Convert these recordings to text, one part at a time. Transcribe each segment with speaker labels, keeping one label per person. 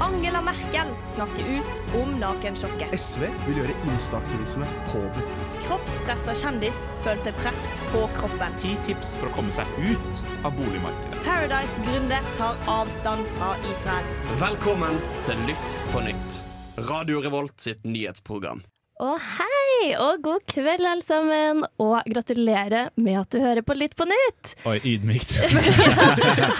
Speaker 1: Angela Merkel snakker ut om nakensjokket.
Speaker 2: SV vil gjøre instaaktivisme påbudt.
Speaker 1: Kroppspressa kjendis følte press på kroppen.
Speaker 3: Ti tips for å komme seg ut av boligmarkedet.
Speaker 1: Paradise-gründer tar avstand fra Israel.
Speaker 4: Velkommen til Lytt på nytt. Radio Revolt sitt nyhetsprogram.
Speaker 5: Og hei, og god kveld alle sammen, og gratulerer med at du hører på Litt på nytt.
Speaker 6: Oi, ydmykt.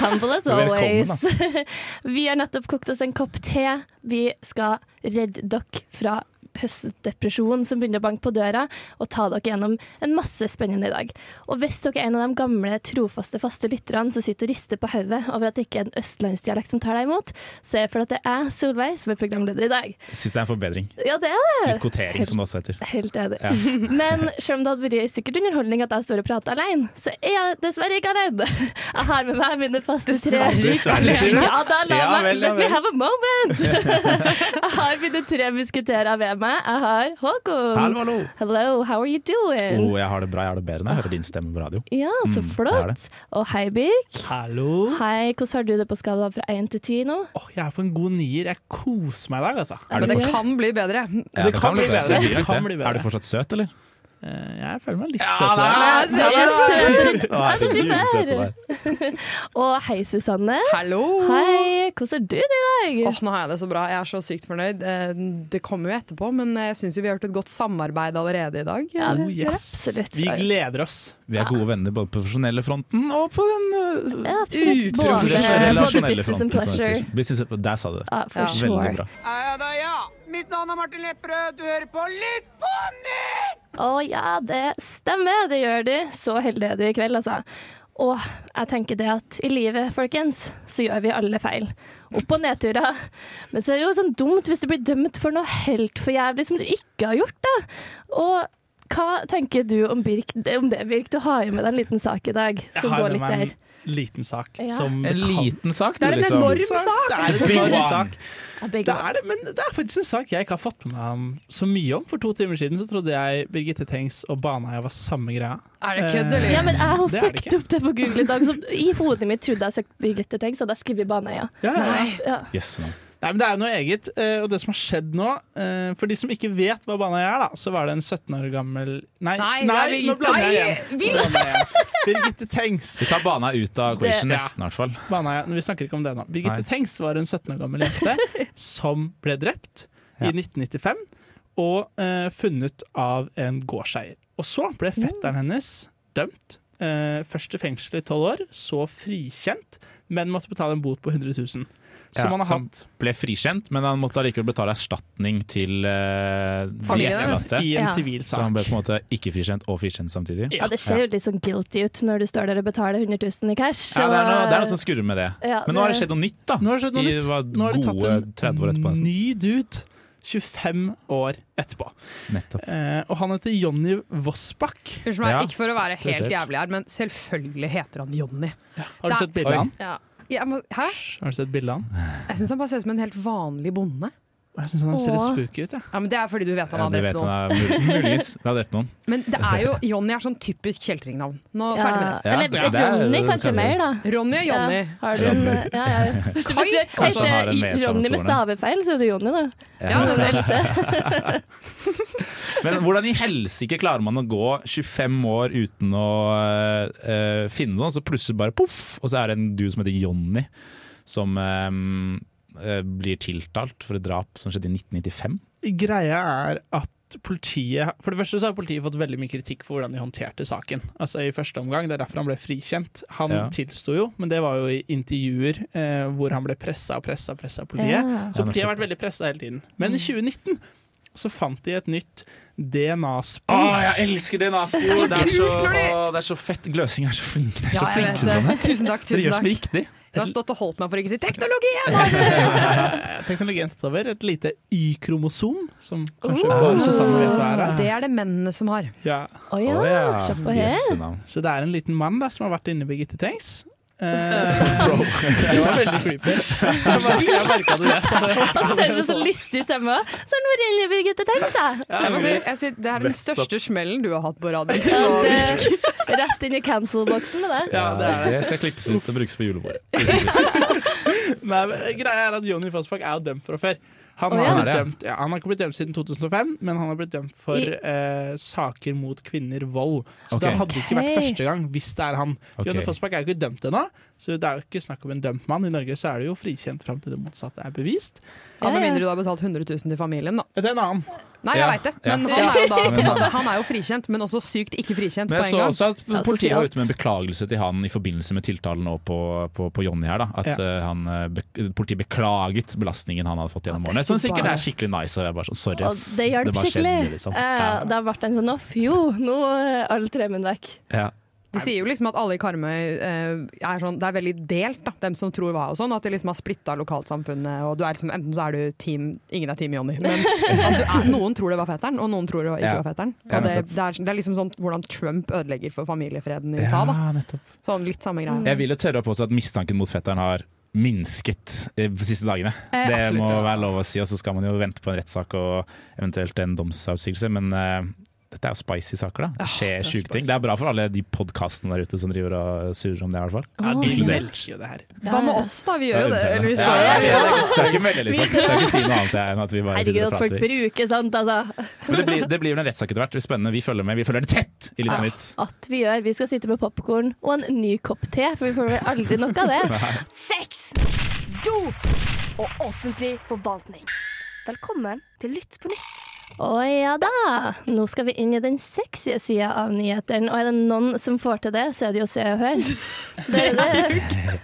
Speaker 5: Humble as
Speaker 6: Velkommen,
Speaker 5: always. Vi har nettopp kokt oss en kopp te. Vi skal redde dere fra høstdepresjonen som begynner å banke på døra, og ta dere gjennom en masse spennende i dag. Og hvis dere er en av de gamle, trofaste, faste lytterne som sitter og rister på hodet over at det ikke er en østlandsdialekt som tar deg imot, så er det fordi at det er jeg, Solveig, som er programleder i dag.
Speaker 6: Syns det er en forbedring.
Speaker 5: Ja, det er det.
Speaker 6: Litt kvotering, som det også heter.
Speaker 5: Helt enig. Men selv om det hadde vært sikkert underholdning at jeg står og prater alene, så er jeg dessverre ikke alene. Jeg har med meg mine faste tre
Speaker 6: Dessverre, sier du?
Speaker 5: Ja da, la
Speaker 6: Ja
Speaker 5: meg
Speaker 6: vel, ja
Speaker 5: Let me
Speaker 6: vel.
Speaker 5: have a moment! jeg har mine tre musketerer ved meg. Jeg har Håkon.
Speaker 2: Hallo, hallo.
Speaker 5: Hello, how are you doing?
Speaker 6: Oh, jeg har det bra, jeg har det bedre når jeg hører din stemme på radio.
Speaker 5: Ja, så
Speaker 6: det er
Speaker 5: flott.
Speaker 6: det.
Speaker 5: Og hei, Birk.
Speaker 7: Hallo.
Speaker 5: Hei, hvordan har du det på skala fra én til ti nå?
Speaker 7: Åh, jeg er på en god nier. Jeg koser meg i dag, altså.
Speaker 6: Er du
Speaker 8: Men det
Speaker 6: fortsatt-
Speaker 8: kan bli bedre.
Speaker 6: Ja,
Speaker 7: det kan bli bedre.
Speaker 6: blir nok
Speaker 7: Det kan
Speaker 6: det.
Speaker 7: bli bedre.
Speaker 6: Er du fortsatt søt, eller?
Speaker 7: Eh, Jeg føler meg litt søt i dag.
Speaker 8: Ja,
Speaker 5: Ja,
Speaker 8: se-
Speaker 5: søtere.
Speaker 6: Herregud, søt
Speaker 5: bedre.
Speaker 6: du er.
Speaker 5: Og hei, Susanne.
Speaker 8: Hallo!
Speaker 5: Hei, hvordan har du det i dag?
Speaker 8: Åh, nå har jeg det så bra. Jeg er så sykt fornøyd. Eh, Det kommer jo etterpå, men eh, jeg syns vi har gjort et godt samarbeid allerede i dag.
Speaker 5: Ja,
Speaker 7: Oh, yes.
Speaker 5: absolutt.
Speaker 7: Vi gleder oss.
Speaker 6: Vi er gode venner både på den profesjonelle fronten og på den øh,
Speaker 5: Ja, absolutt. Både,
Speaker 6: relasjonelle
Speaker 5: både business and
Speaker 6: fronten, som det
Speaker 5: pleasure.
Speaker 6: heter. Business and pleasure. Der sa du det.
Speaker 5: Ja, for
Speaker 8: Ja.
Speaker 6: Veldig
Speaker 5: sure.
Speaker 6: bra.
Speaker 9: Mitt navn er Martin Lepperød, du hører på Lytt på nytt!
Speaker 5: Å ja, det stemmer. Det gjør du. Så heldig er du i kveld, altså. Og jeg tenker det at i livet, folkens, så gjør vi alle feil. Opp- og nedturer. Men så er det jo sånn dumt hvis du blir dømt for noe helt for jævlig som du ikke har gjort, da. Og hva tenker du om, Birk, om det, Birk? Du har jo med deg en liten sak i dag
Speaker 7: Jeg
Speaker 5: som
Speaker 7: har
Speaker 5: går
Speaker 7: med
Speaker 5: litt
Speaker 7: meg
Speaker 5: der.
Speaker 7: en liten sak
Speaker 5: Ja.
Speaker 7: som
Speaker 6: En
Speaker 7: det kan-
Speaker 6: liten sak, liksom.
Speaker 8: Det er en enorm
Speaker 7: Det
Speaker 8: sak!
Speaker 7: er en
Speaker 6: Big
Speaker 7: enorm
Speaker 6: one.
Speaker 7: sak.
Speaker 5: Ja, begge
Speaker 7: Det er det, men det er faktisk en sak jeg ikke har fått med meg om så mye om. For to timer siden så trodde jeg Birgitte Tengs og Baneheia var samme greia.
Speaker 8: Er det kødd,
Speaker 5: Ja,
Speaker 8: eller?
Speaker 5: men jeg har
Speaker 7: Det er det
Speaker 5: søkt
Speaker 7: ikke.
Speaker 5: opp det på Google i dag, så i hodet mitt trodde jeg søkte Birgitte Tengs, og da skriver jeg Baneheia.
Speaker 7: Ja, ja, ja.
Speaker 5: Ja.
Speaker 6: Yes, no.
Speaker 7: Nei, men Det er jo noe eget. eh, Og det som har skjedd nå eh, For de som ikke vet hva Baneheia er, da, så var det en 17 år gammel Nei,
Speaker 8: Nei, det er
Speaker 7: nå
Speaker 8: Birgitte.
Speaker 7: blander jeg
Speaker 8: Nei,
Speaker 7: igjen. Nå blander jeg igjen. Birgitte Tengs.
Speaker 6: Vi tar bana ut av equation,
Speaker 7: Det-
Speaker 6: nesten i hvert fall.
Speaker 7: Baneheia, vi snakker ikke om det nå. Birgitte
Speaker 6: Nei.
Speaker 7: Tengs var en 17 år gammel jente som ble drept
Speaker 6: Ja.
Speaker 7: i 1995 og eh, funnet av en gårdseier. Og så ble
Speaker 6: Mm.
Speaker 7: fetteren hennes dømt. eh, først til fengsel i tolv år, så frikjent, men måtte betale en bot på 100 000. Som
Speaker 6: Ja,
Speaker 7: han har
Speaker 6: som-
Speaker 7: hatt
Speaker 6: Ble frikjent, men han måtte allikevel betale erstatning til uh, de
Speaker 8: Familien hennes.
Speaker 6: etterlatte.
Speaker 7: i en
Speaker 5: Ja.
Speaker 7: sivil
Speaker 6: Så han
Speaker 7: sak.
Speaker 6: ble på en måte ikke frikjent og frikjent samtidig.
Speaker 5: Ja, det ser jo litt sånn guilty ut når du står der og betaler 100 000 i cash.
Speaker 6: Ja, det, er noe,
Speaker 5: og-
Speaker 6: det er noe som skurrer med det.
Speaker 5: Ja,
Speaker 6: Men nå har det skjedd noe nytt, da.
Speaker 7: Nå har det skjedd noe
Speaker 6: I
Speaker 7: nytt. Nå har de
Speaker 6: var gode
Speaker 7: tatt
Speaker 6: 30 år etterpå.
Speaker 7: en
Speaker 6: nesten.
Speaker 7: ny dude 25 år etterpå.
Speaker 6: Nettopp.
Speaker 7: Eh, og han heter Jonny Vossbakk.
Speaker 8: Unnskyld meg,
Speaker 6: Ja.
Speaker 8: ikke for å være helt
Speaker 6: Interessert.
Speaker 8: jævlig her, men selvfølgelig heter han Jonny.
Speaker 7: Har du
Speaker 8: Da-
Speaker 7: sett bildet
Speaker 6: Oi.
Speaker 7: av han?
Speaker 5: Ja.
Speaker 8: Jeg må- Hæ?
Speaker 7: Har du sett bildet av han?
Speaker 8: Jeg syns han bare ser ut som en helt vanlig bonde.
Speaker 7: Jeg synes han ser litt
Speaker 5: Åh.
Speaker 7: spooky ut, jeg.
Speaker 8: Ja, men Det er fordi du vet han
Speaker 6: Ja,
Speaker 8: har
Speaker 6: de
Speaker 8: drept
Speaker 6: vet
Speaker 8: noen.
Speaker 6: han er mul- muligens vi har drept noen.
Speaker 8: Men det er jo, Jonny er sånn typisk kjeltringnavn. Nå ferdig med
Speaker 5: Ja.
Speaker 8: det.
Speaker 6: Ja,
Speaker 5: Eller
Speaker 6: ja, det er-
Speaker 5: Ronny
Speaker 6: det
Speaker 5: kanskje
Speaker 6: kan
Speaker 5: mer,
Speaker 6: jeg
Speaker 5: da.
Speaker 8: Ronny og Jonny.
Speaker 5: Ja, har du en
Speaker 6: Ronny.
Speaker 5: ja, ja. Kanskje Hvis du
Speaker 6: Kanskje han har en sånn med
Speaker 5: heter Ronny med
Speaker 6: sammenstående.
Speaker 5: stavefeil, så er du Jonny, da.
Speaker 8: Ja, det er
Speaker 6: Men hvordan i helsike klarer man å gå 25 år uten å eh, eh, finne noen, så plutselig bare poff, og så er det en dude som heter Jonny, som eh, eh, blir tiltalt for et drap som skjedde i 1995.
Speaker 7: Greia er at politiet For det første så har politiet fått veldig mye kritikk for hvordan de håndterte saken. Altså i første omgang, Det er derfor han ble frikjent. Han
Speaker 6: Ja.
Speaker 7: tilsto jo, men det var jo i intervjuer eh, hvor han ble pressa og pressa og pressa av politiet.
Speaker 5: Ja. Mm.
Speaker 7: Så
Speaker 6: Ja,
Speaker 7: politiet har
Speaker 6: nettopp.
Speaker 7: vært veldig pressa hele tiden. Men i 2019 så fant de et nytt DNA-spor.
Speaker 6: Åh, jeg elsker DNA-spor! Det, er så- det er så fett. Gløsing er så flink. Det er så
Speaker 8: Ja, jeg
Speaker 6: flink,
Speaker 8: vet
Speaker 6: Susanne.
Speaker 8: det. Tusen takk.
Speaker 6: Dere
Speaker 8: tusen
Speaker 6: gjør så mye
Speaker 8: takk
Speaker 6: riktig.
Speaker 8: Du har stått og holdt meg for å ikke si teknologien!
Speaker 7: Teknologien tatt over. Et lite Y-kromosom, som kanskje bare Susanne vet hva er.
Speaker 8: Ah, Det er det mennene som har.
Speaker 7: Ja.
Speaker 5: Å ja,
Speaker 6: Å, ja.
Speaker 5: se på her.
Speaker 6: Jøsse navn.
Speaker 7: Så det er en liten mann da, som har vært inne i Birgitte Tengs. Eh, det var veldig creepy. Jeg merket- Jeg merka det. Jeg sa det.
Speaker 5: Og så ser du med så sånn lystig stemme også. Så har han vært inne i Birgitte Tengs, da.
Speaker 8: Jeg må si, jeg sier, det er den største smellen du har hatt på radio.
Speaker 5: eh, Det- Rett inn i cancel-boksen med det.
Speaker 7: Ja, det er det.
Speaker 6: skal klippes ut og brukes på julebordet.
Speaker 7: Nei, men eh, greia er at Jonny Fossbakk er jo dømt fra før. Han
Speaker 5: Å,
Speaker 7: har,
Speaker 5: ja.
Speaker 7: blitt dømt, ja, han har ikke blitt dømt siden 2005, men han har blitt dømt for
Speaker 5: I-
Speaker 7: eh, saker mot kvinner, vold. Så
Speaker 6: Ok.
Speaker 7: det hadde ikke vært
Speaker 5: Ok.
Speaker 7: første gang, hvis det er han.
Speaker 6: Ok.
Speaker 7: Jonny Fossbakk er jo ikke dømt ennå, så det er jo ikke snakk om en dømt mann. I Norge så er det jo frikjent fram til det motsatte er bevist.
Speaker 8: Ja, Med
Speaker 5: Ja, ja.
Speaker 8: mindre du har betalt 100 000 til familien, da.
Speaker 7: Det er en annen.
Speaker 8: Nei, jeg
Speaker 6: Ja,
Speaker 8: veit det.
Speaker 6: ja.
Speaker 8: Men han er jo da på en
Speaker 6: Ja.
Speaker 8: måte, Han er jo frikjent, men også sykt ikke frikjent
Speaker 6: Men jeg
Speaker 8: på en
Speaker 6: så
Speaker 8: gang.
Speaker 6: også at
Speaker 5: Ja,
Speaker 6: politiet var
Speaker 5: sosialt.
Speaker 6: ute med en beklagelse til han i forbindelse med tiltalen nå på, på, på Jonny her. Da. At
Speaker 7: Ja.
Speaker 6: eh, han, eh, be politiet beklaget belastningen han hadde fått gjennom
Speaker 8: Ja,
Speaker 6: årene.
Speaker 8: det
Speaker 6: Som
Speaker 8: synes jeg
Speaker 6: sikkert
Speaker 8: bare-
Speaker 6: er skikkelig nice. Og jeg bare sånn, sorry,
Speaker 5: Og
Speaker 6: ass.
Speaker 5: det hjalp
Speaker 6: bare
Speaker 5: skikkelig.
Speaker 6: skjedde, liksom.
Speaker 5: Eh, Da ble den sånn off, jo, nå er all tremmen vekk.
Speaker 6: ja.
Speaker 8: De sier jo liksom at alle i Karmøy eh, er sånn Det er veldig delt, da, dem som tror hva og sånn. At de liksom har splitta lokalsamfunnet. Og du er liksom, enten så er du team Ingen er team Jonny, men at du er, noen tror det var fetteren, og noen tror det var ikke
Speaker 6: Ja.
Speaker 8: var fetteren.
Speaker 6: Ja,
Speaker 8: Og det,
Speaker 6: nettopp.
Speaker 8: det, er, det er liksom sånn hvordan Trump ødelegger for familiefreden i USA, da.
Speaker 7: nettopp.
Speaker 8: Sånn litt samme
Speaker 6: Ja.
Speaker 8: greie.
Speaker 6: Jeg vil jo tørre å påstå at mistanken mot fetteren har minsket eh, de siste dagene.
Speaker 8: Eh,
Speaker 6: det
Speaker 8: absolutt.
Speaker 6: må være lov å si, og så skal man jo vente på en rettssak og eventuelt en domsavsigelse. Men eh, dette er jo spicy saker, da. Det skjer
Speaker 7: det er
Speaker 6: sjuke ting.
Speaker 7: spicy.
Speaker 6: Det er bra for alle de podkastene der ute som driver og surrer om det, i hvert fall.
Speaker 7: Ja,
Speaker 5: Åh.
Speaker 7: de elsker jo det her.
Speaker 8: Hva med oss, da? Vi gjør jo det. Eller vi
Speaker 6: Ja,
Speaker 8: står jo
Speaker 6: ja,
Speaker 8: der.
Speaker 6: ja, ja. Skal ikke melde, liksom. Skal ikke si noe annet enn at vi bare
Speaker 5: Herregud,
Speaker 6: sitter og
Speaker 5: at folk
Speaker 6: prater.
Speaker 5: bruker sånt, altså.
Speaker 6: Men det blir, det blir jo en rettssak etter hvert. Det blir spennende. Vi følger med. Vi følger det tett i Litt
Speaker 5: Ja.
Speaker 6: på nytt.
Speaker 5: At vi gjør. Vi skal sitte med popkorn og en ny kopp te, for vi får vel aldri nok av det.
Speaker 1: Sex, dop og offentlig forvaltning. Velkommen til Lytt på nytt.
Speaker 5: Å ja da! Nå skal vi inn i den sexy sida av nyhetene, og er det noen som får til det, så er det jo Se og Hør. Det er det.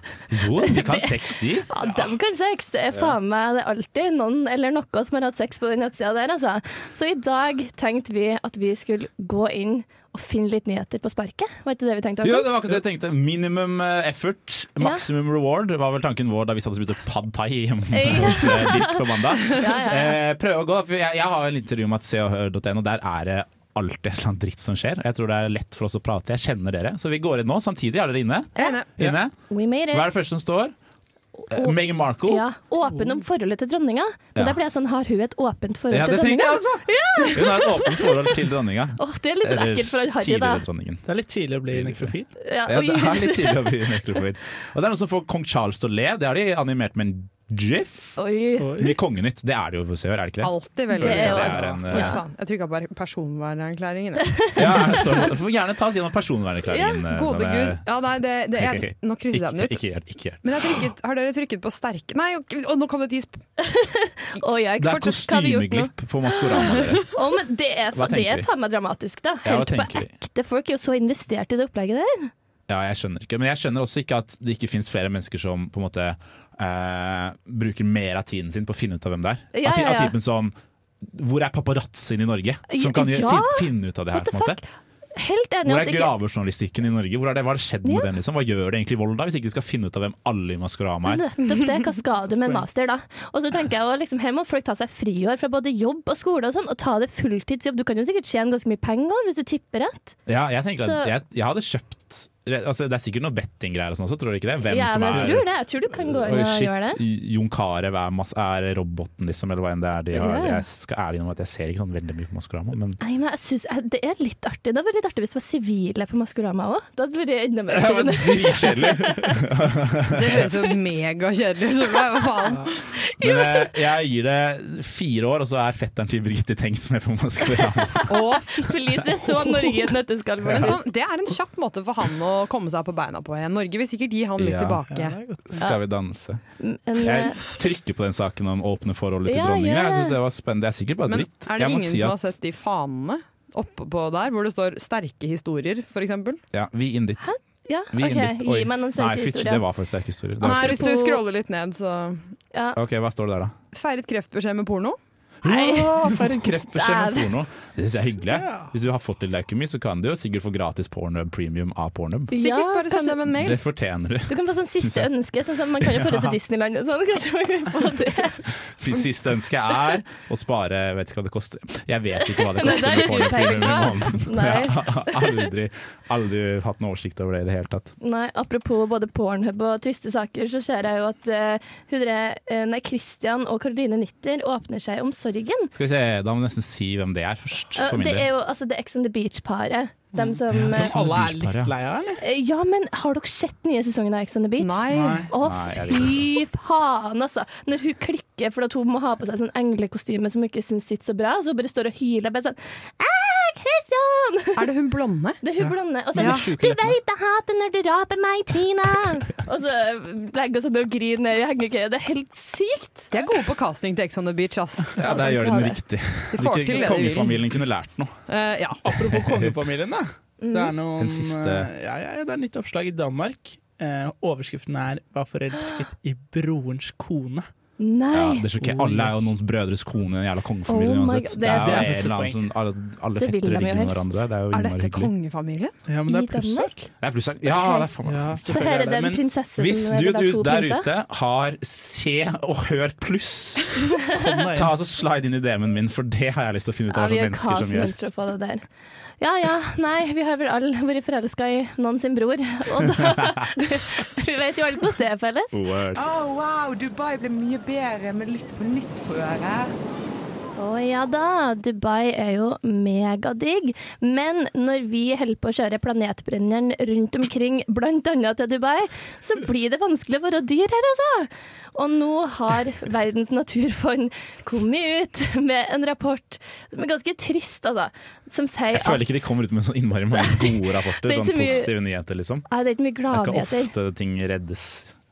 Speaker 6: Jo, vi kan 60.
Speaker 5: Ja, de kan sex! Det er faen meg det er alltid noen eller noe som har hatt sex på den nettsida der, altså. Så i dag tenkte vi at vi skulle gå inn og finne litt nyheter på sparket. Var ikke det vi tenkte?
Speaker 6: Ja,
Speaker 5: Håkon?
Speaker 6: det var akkurat det jeg tenkte. Minimum eh, effort, maximum reward var vel tanken vår da vi satt og spiste pad thai hjemme hos eh, Birk på mandag.
Speaker 5: ja, ja.
Speaker 6: Eh, prøve å gå, for jeg, jeg har jo en intervju med at seoghør.no, der er det alltid et eller annet dritt som skjer. Jeg tror det er lett for oss å prate, jeg kjenner dere. Så vi går inn nå, samtidig er dere inne.
Speaker 8: Jeg er enig.
Speaker 6: inne.
Speaker 5: We made
Speaker 6: Hva
Speaker 5: it.
Speaker 6: er det første som står? Eh,
Speaker 5: Å-
Speaker 6: Meghan Markle.
Speaker 5: Ja, åpen om forholdet til dronninga. Men
Speaker 6: Ja.
Speaker 5: da ble jeg sånn, har hun et åpent forhold
Speaker 6: Ja,
Speaker 5: til
Speaker 6: det tenkte
Speaker 5: dronninga?
Speaker 6: jeg altså! Hun har et åpent forhold til dronninga.
Speaker 5: Åh, det er litt sånn ekkelt for han Harry, da.
Speaker 6: tidligere dronningen.
Speaker 7: Det er litt tidlig å bli nekrofil.
Speaker 5: Ja,
Speaker 6: Ja, det
Speaker 5: oi.
Speaker 6: er litt tidlig å bli nekrofil. Og det er noen som får kong Charles til å le. Det har de animert med en gif.
Speaker 5: Oi.
Speaker 6: Mye kongenytt. Det er det jo for seere, er det ikke det?
Speaker 8: Alltid veldig
Speaker 5: Det er jo-
Speaker 6: Det
Speaker 8: bra.
Speaker 6: er en,
Speaker 8: Oi,
Speaker 6: eh,
Speaker 8: faen. Jeg trykka på personvernerklæringen. jeg.
Speaker 6: ja, det står- du får gjerne ta oss gjennom personvernerklæringen. eh,
Speaker 8: Gode
Speaker 6: sånn, eh,
Speaker 8: gud. Ja, nei, det, det er,
Speaker 6: Ok, ok.
Speaker 8: nå krysser jeg den
Speaker 6: Ikke,
Speaker 8: ut.
Speaker 6: ikke gjør det. Ikke gjør det.
Speaker 8: Men jeg har trykket, har dere trykket på sterke Nei, ok, å, nå kom det et is!
Speaker 5: Oi, jeg,
Speaker 6: Det er
Speaker 5: fortsatt, hva har vi gjort nå?
Speaker 6: kostymeglipp på Maskorama. Dere.
Speaker 5: Å, men det er, fa-
Speaker 6: Hva tenker
Speaker 5: det er
Speaker 6: vi?
Speaker 5: faen meg dramatisk, da.
Speaker 6: Ja, hva
Speaker 5: Helt på
Speaker 6: tenker vi?
Speaker 5: ekte. Folk er jo så investert i det opplegget der.
Speaker 6: Ja, jeg skjønner ikke. Men jeg skjønner også ikke at det ikke finnes flere mennesker som på en måte eh, bruker mer av tiden sin på å finne ut av hvem det er.
Speaker 5: Ja,
Speaker 6: av, ty-
Speaker 5: ja, ja.
Speaker 6: av typen som Hvor er paparazzoen i Norge? Som kan gjøre-
Speaker 5: Ja.
Speaker 6: fin, finne ut av det her.
Speaker 5: What the
Speaker 6: på en måte.
Speaker 5: fuck? Helt enig.
Speaker 6: Hvor
Speaker 5: at
Speaker 6: er
Speaker 5: ikke-
Speaker 6: gravejournalistikken i Norge? Hvor er det, hva har skjedd med
Speaker 5: Ja.
Speaker 6: den? liksom? Hva gjør det egentlig i Volda, hvis ikke vi skal finne ut av hvem alle i Maskorama er?
Speaker 5: Nettopp det. Hva skal du med en master, da? Og så tenker jeg også, liksom, Her må folk ta seg friår fra både jobb og skole og sånn, og ta det fulltidsjobb. Du kan jo sikkert tjene ganske mye penger hvis du tipper rett.
Speaker 6: Ja, jeg tenker
Speaker 5: Så-
Speaker 6: at jeg, jeg hadde kjøpt altså, Det er sikkert noe bettinggreier og sånn også, tror du ikke det? Hvem
Speaker 5: ja,
Speaker 6: som
Speaker 5: men
Speaker 6: er
Speaker 5: jeg tror det. Jeg tror du kan gå inn
Speaker 6: Oi,
Speaker 5: og
Speaker 6: shit,
Speaker 5: gjøre det.
Speaker 6: Jon Carew er, mas- er roboten, liksom, eller hva enn det er de har.
Speaker 5: Ja.
Speaker 6: Jeg skal ærlig innrømme at jeg ser ikke sånn veldig mye på Maskorama, men
Speaker 5: Nei, men jeg synes, jeg- Det er litt artig. Det hadde vært litt artig hvis det var sivile på Maskorama òg. Det hadde vært enda mer
Speaker 6: det var
Speaker 5: spennende.
Speaker 6: dritkjedelig!
Speaker 8: Det høres jo megakjedelig ut. så Hva faen?
Speaker 6: Men eh, jeg gir det fire år, og så er fetteren til Birgitte Tengs med på Maskorama.
Speaker 8: Å, fy-
Speaker 5: Please, det er så Norge i et nøtteskall.
Speaker 8: Men
Speaker 5: faktisk.
Speaker 8: sånn, det er en kjapp måte for han å komme seg på beina på igjen. Norge vil sikkert gi han litt
Speaker 6: Ja.
Speaker 8: tilbake.
Speaker 6: Skal vi danse?
Speaker 5: Men,
Speaker 6: Jeg
Speaker 5: eh,
Speaker 6: trykker på den saken om åpne forholdet til
Speaker 5: Ja,
Speaker 6: dronningen.
Speaker 5: gjør
Speaker 6: Jeg
Speaker 5: det.
Speaker 6: synes det var spennende. Det er sikkert bare
Speaker 8: Men
Speaker 6: dritt.
Speaker 8: er det
Speaker 6: Jeg må
Speaker 8: ingen
Speaker 6: si
Speaker 8: som
Speaker 6: at-
Speaker 8: har sett de fanene oppå der, hvor det står 'sterke historier', f.eks.?
Speaker 6: Ja, vi inn dit.
Speaker 5: ja,
Speaker 6: Vi inn
Speaker 5: OK.
Speaker 6: dit. Oi.
Speaker 5: Gi meg noen
Speaker 6: Nei,
Speaker 5: sterke
Speaker 6: fytti, det
Speaker 5: historier.
Speaker 6: var for sterk historie. Det var
Speaker 8: Nei,
Speaker 6: ikke
Speaker 8: hvis
Speaker 6: det.
Speaker 8: du scroller litt ned, så
Speaker 5: Ja.
Speaker 6: Ok, Hva står det der, da?
Speaker 8: Feiret kreftbeskjed med porno.
Speaker 6: Ja, for en kreftbeskjed med
Speaker 5: Dæven.
Speaker 6: porno. Det synes jeg er hyggelig. Hvis du har fått litt leukemi, så kan du jo sikkert få gratis pornhub premium av pornhub.
Speaker 8: Sikkert
Speaker 5: Ja,
Speaker 8: bare send dem en mail.
Speaker 6: Det fortjener du.
Speaker 5: Du kan få sånn siste
Speaker 6: jeg.
Speaker 5: ønske. Sånn som man kan jo dra til Disneyland. og Sånn, kanskje man kan få det.
Speaker 6: Mitt siste ønske er å spare Jeg vet ikke hva det koster. Jeg vet ikke hva det
Speaker 5: Nei,
Speaker 6: koster
Speaker 5: det
Speaker 6: med
Speaker 5: er du
Speaker 6: pornhub premium i måneden.
Speaker 5: Nei.
Speaker 6: Jeg har aldri, aldri hatt noen oversikt over det i det hele tatt.
Speaker 5: Nei, apropos både Pornhub og triste saker, så ser jeg jo at eh, hun der, eh, nei, Christian og Caroline Nitter åpner seg om sorgen.
Speaker 6: Skal vi se, Da må vi nesten si hvem det er først.
Speaker 5: Eh,
Speaker 6: For min
Speaker 5: det
Speaker 6: del.
Speaker 5: er jo altså, det Ex on the Beach-paret. Dem som
Speaker 6: Mm. Ja,
Speaker 7: Som alle er
Speaker 6: Sånne
Speaker 7: litt
Speaker 6: byspar, ja.
Speaker 7: lei av, eller?
Speaker 5: eh, Ja, men har dere sett nye sesongen av Ex on the Beach?
Speaker 8: Nei.
Speaker 5: Å, fy faen, altså. Når hun klikker fordi at hun må ha på seg sånn englekostyme som hun ikke syns sitter så bra, så hun bare står og hyler. Bare sånn «Ah, Christian!
Speaker 8: Er det hun blonde?
Speaker 5: Det er hun blonde. Og så
Speaker 8: Ja.
Speaker 5: er hun, du veit jeg hater når du raper meg, Tina! og så legger hun seg ned og griner. Jeg henger ikke. Det er helt sykt.
Speaker 8: De er gode på casting til Ex on the Beach, ass.
Speaker 6: Ja, der gjør de
Speaker 5: skal
Speaker 6: den
Speaker 5: ha det.
Speaker 6: riktig.
Speaker 8: De får til det de vil.
Speaker 6: Kongefamilien kunne lært noe.
Speaker 8: Eh, ja.
Speaker 7: Apropos kongefamilien, da.
Speaker 5: Mm.
Speaker 7: Det er noen
Speaker 6: Den siste.
Speaker 7: eh, Ja, ja, ja, det er nytt oppslag i Danmark. Eh, overskriften er 'Var forelsket i brorens kone'.
Speaker 6: Ja,
Speaker 5: Nei.
Speaker 6: det er så ikke. Alle er jo noens brødres kone, en jævla kongefamilie
Speaker 5: Oh my
Speaker 6: uansett.
Speaker 5: God, det
Speaker 6: Det er
Speaker 5: er
Speaker 6: jo
Speaker 7: sant.
Speaker 6: en eller annen som alle, alle
Speaker 5: Det vil
Speaker 6: fettere
Speaker 5: de jo
Speaker 6: ligger med
Speaker 5: helst.
Speaker 6: hverandre. Det er jo
Speaker 8: Er
Speaker 6: innmari
Speaker 8: dette
Speaker 6: hyggelig.
Speaker 8: kongefamilie?
Speaker 7: Ja, men
Speaker 5: I
Speaker 7: det er plussak.
Speaker 5: Danmark?
Speaker 6: Det er plussak. Ja,
Speaker 5: Ok.
Speaker 6: det er faen meg
Speaker 7: Ja,
Speaker 5: Så her er det en
Speaker 7: men
Speaker 5: prinsesse
Speaker 6: Hvis
Speaker 5: som
Speaker 6: du
Speaker 5: vil ha
Speaker 6: du
Speaker 5: to
Speaker 6: der
Speaker 5: prinser.
Speaker 6: ute har Se og Hør pluss,
Speaker 7: kom deg
Speaker 6: ta
Speaker 7: inn.
Speaker 6: altså slide inn i DM-en min, for det har jeg lyst til å finne ut
Speaker 5: Ja,
Speaker 6: av
Speaker 5: vi
Speaker 6: hva
Speaker 5: gjør hva
Speaker 6: mennesker
Speaker 5: som
Speaker 6: som gjør.
Speaker 5: helst for å få det der. Ja ja, nei, vi har vel alle vært forelska i noen sin bror, og da Vi vet jo alle hvordan det er felles.
Speaker 6: Word.
Speaker 10: Oh, wow, Dubai ble mye bedre med Lytt på nytt på øret.
Speaker 5: Å ja da, Dubai er jo megadigg. Men når vi holder på å kjøre planetbrenneren rundt omkring, bl.a. til Dubai, så blir det vanskelig å være dyr her, altså. Og nå har Verdens naturfond kommet ut med en rapport som er ganske trist, altså. Som sier
Speaker 6: Jeg føler ikke de kommer ut med så innmari mange gode rapporter,
Speaker 5: Det er ikke
Speaker 6: sånn
Speaker 5: så mye-
Speaker 6: positive nyheter, liksom.
Speaker 5: Nei, det er ikke
Speaker 6: Det
Speaker 5: mye
Speaker 6: er ikke
Speaker 5: gladnyheter.
Speaker 6: ofte ting reddes.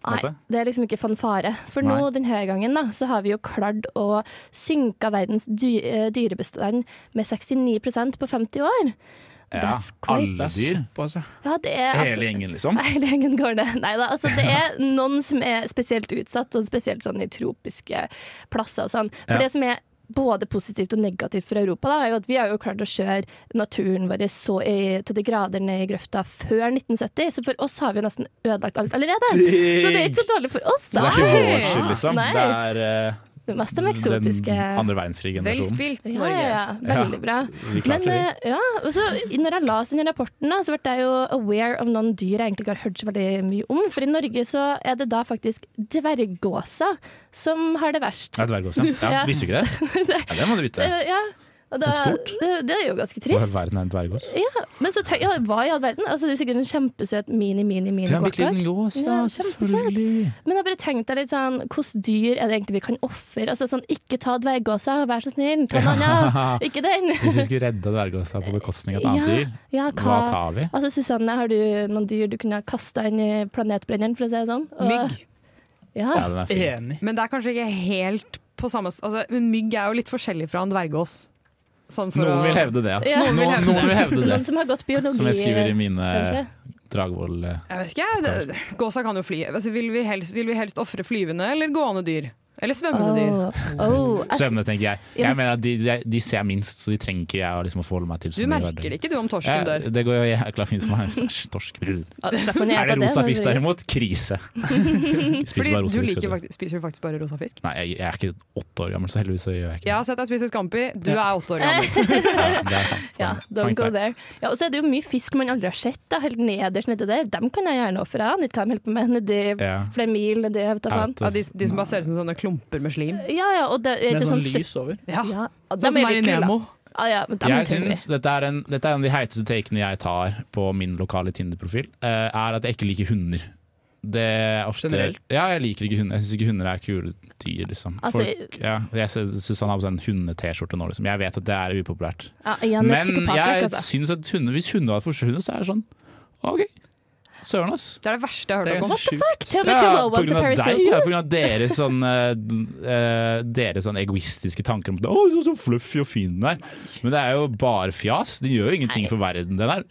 Speaker 6: på en
Speaker 5: Nei,
Speaker 6: måte.
Speaker 5: det er liksom ikke fanfare. For nå
Speaker 6: Nei.
Speaker 5: denne gangen da, så har vi jo klart å synke verdens dy eh, dyrebestand med 69 på 50 år.
Speaker 6: Ja,
Speaker 5: That's quite-
Speaker 6: alle dyr.
Speaker 7: Såpass, ja.
Speaker 5: Ja, det er altså-
Speaker 6: Hele gjengen, liksom.
Speaker 5: Hele gjengen går ned. Nei da, altså det er noen som er spesielt utsatt, og spesielt sånn i tropiske plasser og sånn. For
Speaker 6: Ja.
Speaker 5: det som er både positivt og negativt for Europa, da, er jo at vi har jo klart å kjøre naturen vår så i, til de grader ned i grøfta før 1970, så for oss har vi jo nesten ødelagt alt allerede. Så det er ikke så dårlig for oss,
Speaker 6: Så det
Speaker 5: da.
Speaker 6: er ikke vår skyld, liksom.
Speaker 5: Nei.
Speaker 6: Det er eh,
Speaker 5: Det mest de eksotiske
Speaker 6: den andre verdenskrig-generasjonen.
Speaker 8: spilt,
Speaker 5: ja, ja, ja. Veldig bra.
Speaker 6: Vi
Speaker 5: Men
Speaker 6: klarte det.
Speaker 5: eh, ja, og så når jeg leste denne rapporten, da, så ble jeg jo aware av noen dyr jeg egentlig ikke har hørt så veldig mye om. For i Norge så er det da faktisk dverggåser som har det verst.
Speaker 6: Det er dvergås, ja. ja.
Speaker 5: Ja.
Speaker 6: Visste du ikke det? Ja, det må du vite.
Speaker 5: Eh, ja. Og da,
Speaker 6: Det er stort.
Speaker 5: Det, det er jo ganske
Speaker 6: Hva i
Speaker 5: trist.
Speaker 6: verden er en dvergås?
Speaker 5: Ja, men så tenk, ja, hva i all verden? Altså, det er sikkert en kjempesøt
Speaker 6: Ja, en
Speaker 5: mini-mini-mini-gås.
Speaker 6: bitte liten gås, ja.
Speaker 5: Ja, kjempesøt.
Speaker 6: Selvfølgelig.
Speaker 5: men jeg bare tenkte litt sånn, hvilke dyr er det egentlig vi kan ofre? Altså, sånn, ikke ta dverggåsa, vær så snill. Ta en annen, ikke den.
Speaker 6: Hvis vi skulle redde dvergåsa på bekostning av et annet dyr,
Speaker 5: ja,
Speaker 6: hva tar vi?
Speaker 5: Altså, Susanne, har du noen dyr du kunne ha kasta inn i planetbrenneren, for å si det sånn? Og-
Speaker 8: Mygg.
Speaker 5: Ja.
Speaker 6: Ja, den er fin.
Speaker 7: Enig.
Speaker 8: Men det er kanskje ikke helt på samme s- altså, men Mygg er jo litt forskjellig fra en dvergås. Sånn for
Speaker 6: Noen
Speaker 8: å-
Speaker 6: vil hevde det, ja.
Speaker 5: Ja.
Speaker 8: Noen vil hevde
Speaker 6: Noen vil hevde det.
Speaker 5: Noen som har gått biologi
Speaker 6: Som jeg skriver i mine
Speaker 5: kanskje?
Speaker 6: Dragvoll eh,
Speaker 8: Jeg vet ikke, jeg. det- Gåsa kan jo fly. Altså, vil vi helst, vil vi helst ofre flyvende eller gående dyr? Eller svømmende dyr?
Speaker 5: Åh, åh, jeg s-
Speaker 6: Svømmende, tenker jeg.
Speaker 5: Ja,
Speaker 6: Jeg mener at de, de, de ser jeg minst, så de trenger ikke jeg å liksom forholde meg til. så mye
Speaker 8: Du
Speaker 6: i
Speaker 8: merker
Speaker 6: hverdagen.
Speaker 8: det ikke, du, om torsken
Speaker 6: Ja,
Speaker 8: dør.
Speaker 6: det går jo jækla fint for meg. Æsj, Torsk.
Speaker 5: Ah,
Speaker 6: Er
Speaker 5: slapp av ned,
Speaker 6: sånn det
Speaker 5: jeg tar
Speaker 6: rosa
Speaker 5: men-
Speaker 6: fisk derimot? Krise. Jeg Spiser bare
Speaker 8: Fordi
Speaker 6: rosa
Speaker 8: du
Speaker 6: fisk.
Speaker 8: liker,
Speaker 6: vet du.
Speaker 8: faktisk- spiser jo faktisk bare rosa fisk.
Speaker 6: Nei, jeg, jeg er ikke åtte år gammel, så heldigvis så gjør jeg ikke
Speaker 8: Jeg
Speaker 6: det.
Speaker 8: har sett deg spise scampi, du er åtte år gammel.
Speaker 6: Ja, det er sant.
Speaker 5: Ja, don't
Speaker 6: Point
Speaker 5: go
Speaker 6: der.
Speaker 5: there. Ja, og så er det jo mye fisk man aldri har sett, da, helt nederst nedi der. Dem kan jeg gjerne ofre. Jeg vet ikke hva de holder på med nedi
Speaker 6: Ja.
Speaker 5: flere mil nedi, jeg vet da
Speaker 6: Jeg
Speaker 5: faen.
Speaker 6: vet
Speaker 8: Ja,
Speaker 6: det.
Speaker 8: de, de som bare ser ut som sånne klumper med slim.
Speaker 5: Ja ja, og det er
Speaker 7: Med
Speaker 5: det
Speaker 7: sånn
Speaker 5: sånn
Speaker 7: lys over.
Speaker 8: Ja,
Speaker 5: Ja, og
Speaker 8: Sånn
Speaker 5: dem
Speaker 8: som
Speaker 5: er
Speaker 8: er i
Speaker 5: litt kule, da.
Speaker 8: Nemo.
Speaker 5: Ah, ja, men dem
Speaker 6: Jeg
Speaker 5: tør vi.
Speaker 6: synes, dette, er en, dette er en av de heiteste takene jeg tar på min lokale Tinder-profil, eh, er at jeg ikke liker hunder. Det er ofte,
Speaker 7: Generelt?
Speaker 6: Ja, jeg liker ikke hunder. Jeg syns ikke hunder er kule dyr, liksom.
Speaker 5: Altså,
Speaker 6: Folk, ja, jeg syns han har på seg en hunde-T-skjorte nå, liksom. Jeg vet at det er upopulært.
Speaker 5: Ja, igjen, et
Speaker 6: Men
Speaker 5: psykopat,
Speaker 6: jeg
Speaker 5: altså.
Speaker 6: syns at hunder, hvis hunder hadde forsvunnet, så er det sånn OK, søren ass.
Speaker 8: Det er det verste jeg har
Speaker 7: Det er
Speaker 8: hørt om.
Speaker 7: ganske sjukt.
Speaker 5: Til og med
Speaker 6: Ja, på
Speaker 5: Chihuahua til
Speaker 6: grunn av
Speaker 5: Paris
Speaker 6: deg,
Speaker 5: Hilton.
Speaker 6: ja, på grunn av deres sånn, eh, d- eh, deres sånn egoistiske tanker om at, Å, så, så fluffy og fin den er. Men det er jo bare fjas. De gjør jo ingenting for verden, den der.